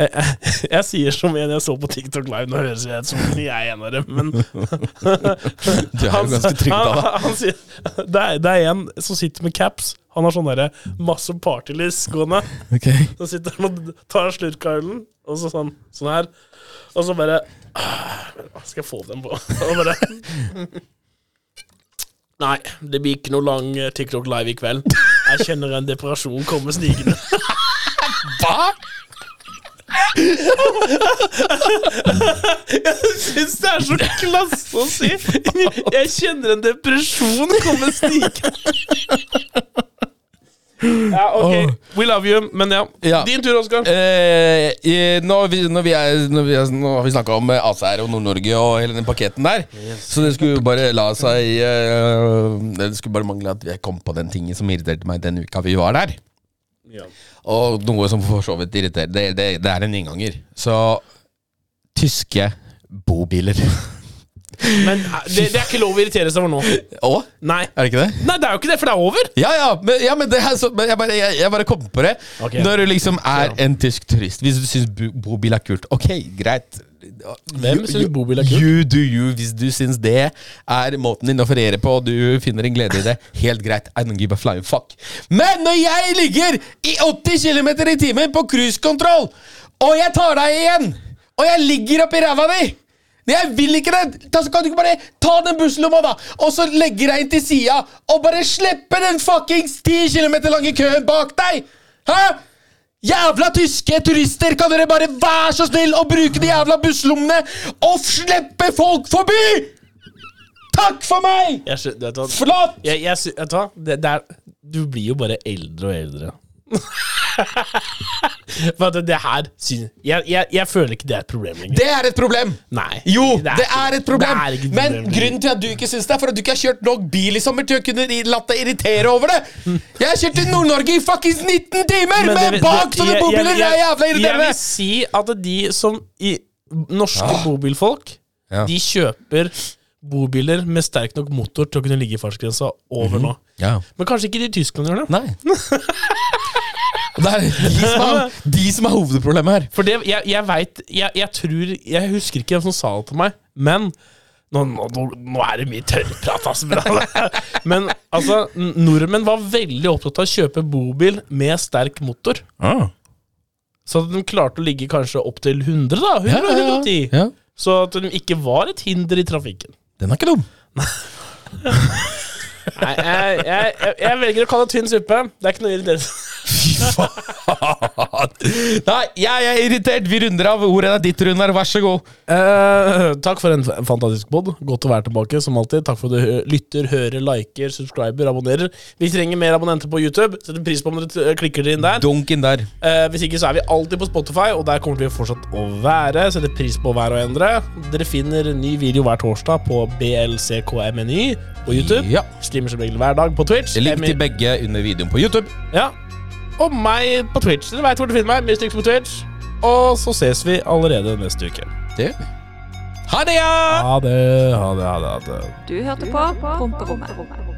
[SPEAKER 3] jeg, jeg sier som en jeg så på TikTok Live. Nå høres jeg ut som jeg er en av dem, men
[SPEAKER 4] Du er jo ganske trygg av deg.
[SPEAKER 3] Han, han sier, det, er, det er en som sitter med caps. Han har sånn derre masse partylyst gående.
[SPEAKER 4] Okay.
[SPEAKER 3] Så sitter han og tar en slurk av ølen, og så sånn, sånn her. Og så bare «Ah, Skal jeg få den på? Og bare Nei, det blir ikke noe lang eh, TikTok live i kveld. Jeg kjenner en depresjon komme snikende.
[SPEAKER 4] Hva?
[SPEAKER 3] Syns det er så klasse å si! Jeg kjenner en depresjon komme snikende. Ja, ok. We love you. Men ja.
[SPEAKER 4] Ja.
[SPEAKER 3] Din tur, Oskar.
[SPEAKER 4] Eh, eh, nå, har vi, når vi er, når vi er, nå har vi snakka om eh, ACR og Nord-Norge og hele den paketten der. Så det skulle jo bare la seg eh, Det skulle bare mangle at jeg kom på den tingen som irriterte meg den uka vi var der.
[SPEAKER 3] Ja.
[SPEAKER 4] Og noe som for så vidt irriterer Det, det, det er en innganger. Så tyske bobiler.
[SPEAKER 3] Men eh, det, det er ikke lov å irritere seg over nå.
[SPEAKER 4] Å?
[SPEAKER 3] Nei.
[SPEAKER 4] Er det ikke det?
[SPEAKER 3] Nei, det er jo ikke det, for det er over!
[SPEAKER 4] Ja, ja, men, ja, men, det er så, men jeg, bare, jeg, jeg bare kom på det.
[SPEAKER 3] Ok.
[SPEAKER 4] Når du liksom er en tysk turist Hvis du syns bu- bobil er kult, ok, greit.
[SPEAKER 3] Hvem
[SPEAKER 4] You-
[SPEAKER 3] syns
[SPEAKER 4] you-
[SPEAKER 3] bobil er kult?
[SPEAKER 4] You do you. Hvis du syns det er måten din å feriere på, og du finner en glede i det, helt greit. I don't give a flying fuck. Men når jeg ligger i 80 km i timen på cruisekontroll, og jeg tar deg igjen, og jeg ligger oppi ræva di men jeg vil ikke det! Da kan du ikke bare ta den busslomma, da, og så legge deg inn til sida og bare slippe den fuckings 10 km lange køen bak deg! Hæ? Jævla tyske turister, kan dere bare være så snill å bruke de jævla busslommene og slippe folk forbi?! Takk for meg!
[SPEAKER 3] Jeg, skjø- vet du hva?
[SPEAKER 4] Forlatt!
[SPEAKER 3] jeg, jeg, sy- vet du hva? Det, det er, du blir jo bare eldre og eldre. For at det her syn- jeg, jeg, jeg føler ikke det er et problem lenger.
[SPEAKER 4] Det er et problem.
[SPEAKER 3] Nei.
[SPEAKER 4] Jo, det
[SPEAKER 3] Det er
[SPEAKER 4] er,
[SPEAKER 3] ikke-
[SPEAKER 4] et problem.
[SPEAKER 3] det er ikke et
[SPEAKER 4] Men
[SPEAKER 3] problem.
[SPEAKER 4] grunnen til at du ikke syns det, er for at du ikke har kjørt nok bil i sommer til å kunne i- latt deg irritere over det. Jeg har kjørt til Nord-Norge i fuckings 19 timer
[SPEAKER 3] Men
[SPEAKER 4] med
[SPEAKER 3] det-
[SPEAKER 4] bak
[SPEAKER 3] det-
[SPEAKER 4] sånne
[SPEAKER 3] jeg-
[SPEAKER 4] bobiler! Det
[SPEAKER 3] jeg-
[SPEAKER 4] er jævla
[SPEAKER 3] Jeg vil
[SPEAKER 4] irriterende.
[SPEAKER 3] si at de som i Norske bobilfolk,
[SPEAKER 4] Ah. Ja.
[SPEAKER 3] de kjøper bobiler med sterk nok motor til å kunne ligge i fartsgrensa over nå. Men kanskje ikke de i Tyskland gjør det?
[SPEAKER 4] Mhm. Nei. Det er de som er, de som er hovedproblemet her.
[SPEAKER 3] For det, jeg, jeg veit jeg, jeg tror Jeg husker ikke hvem som sa det til meg, men nå, nå, nå, nå er det mye tørrprat, altså. men- Men altså, n- nordmenn var veldig opptatt av å kjøpe bobil med sterk motor. Så at de klarte å ligge kanskje opp til 100, da. 100, 110.
[SPEAKER 4] Ja.
[SPEAKER 3] Så at de ikke var et hinder i trafikken.
[SPEAKER 4] Den er ikke dum.
[SPEAKER 3] Nei, jeg, jeg, jeg, jeg velger å kalle det tynn suppe. Det er ikke noe irriterende.
[SPEAKER 4] Fy faen! Nei, jeg er irritert! Vi runder av. Ordet er ditt, Runar. Vær så god.
[SPEAKER 3] Eh, takk for en f- fantastisk pod. Godt å være tilbake, som alltid. Takk for at du hø- lytter, hører, liker, subscriber, abonnerer. Vi trenger mer abonnenter på YouTube. Setter pris på om dere t- klikker dere inn der.
[SPEAKER 4] Dunken der.
[SPEAKER 3] Eh, hvis ikke så er vi alltid på Spotify, og der kommer vi fortsatt å være. Setter pris på hver og en dere. Dere finner ny video hver torsdag på BLCKMNY på YouTube.
[SPEAKER 4] Ja.
[SPEAKER 3] Streamer som regel hver dag på Twitch.
[SPEAKER 4] Link
[SPEAKER 3] Emi-
[SPEAKER 4] til begge under videoen på YouTube.
[SPEAKER 3] Ja. Og meg på Twitch. Dere veit hvor dere finner meg. Mye stygt på Twitch. Og så ses vi allerede neste uke.
[SPEAKER 4] Det gjør vi. Ha det, ja!
[SPEAKER 3] Ha det, ha det, ha det. Ha det.
[SPEAKER 2] Du hørte på Promperommet.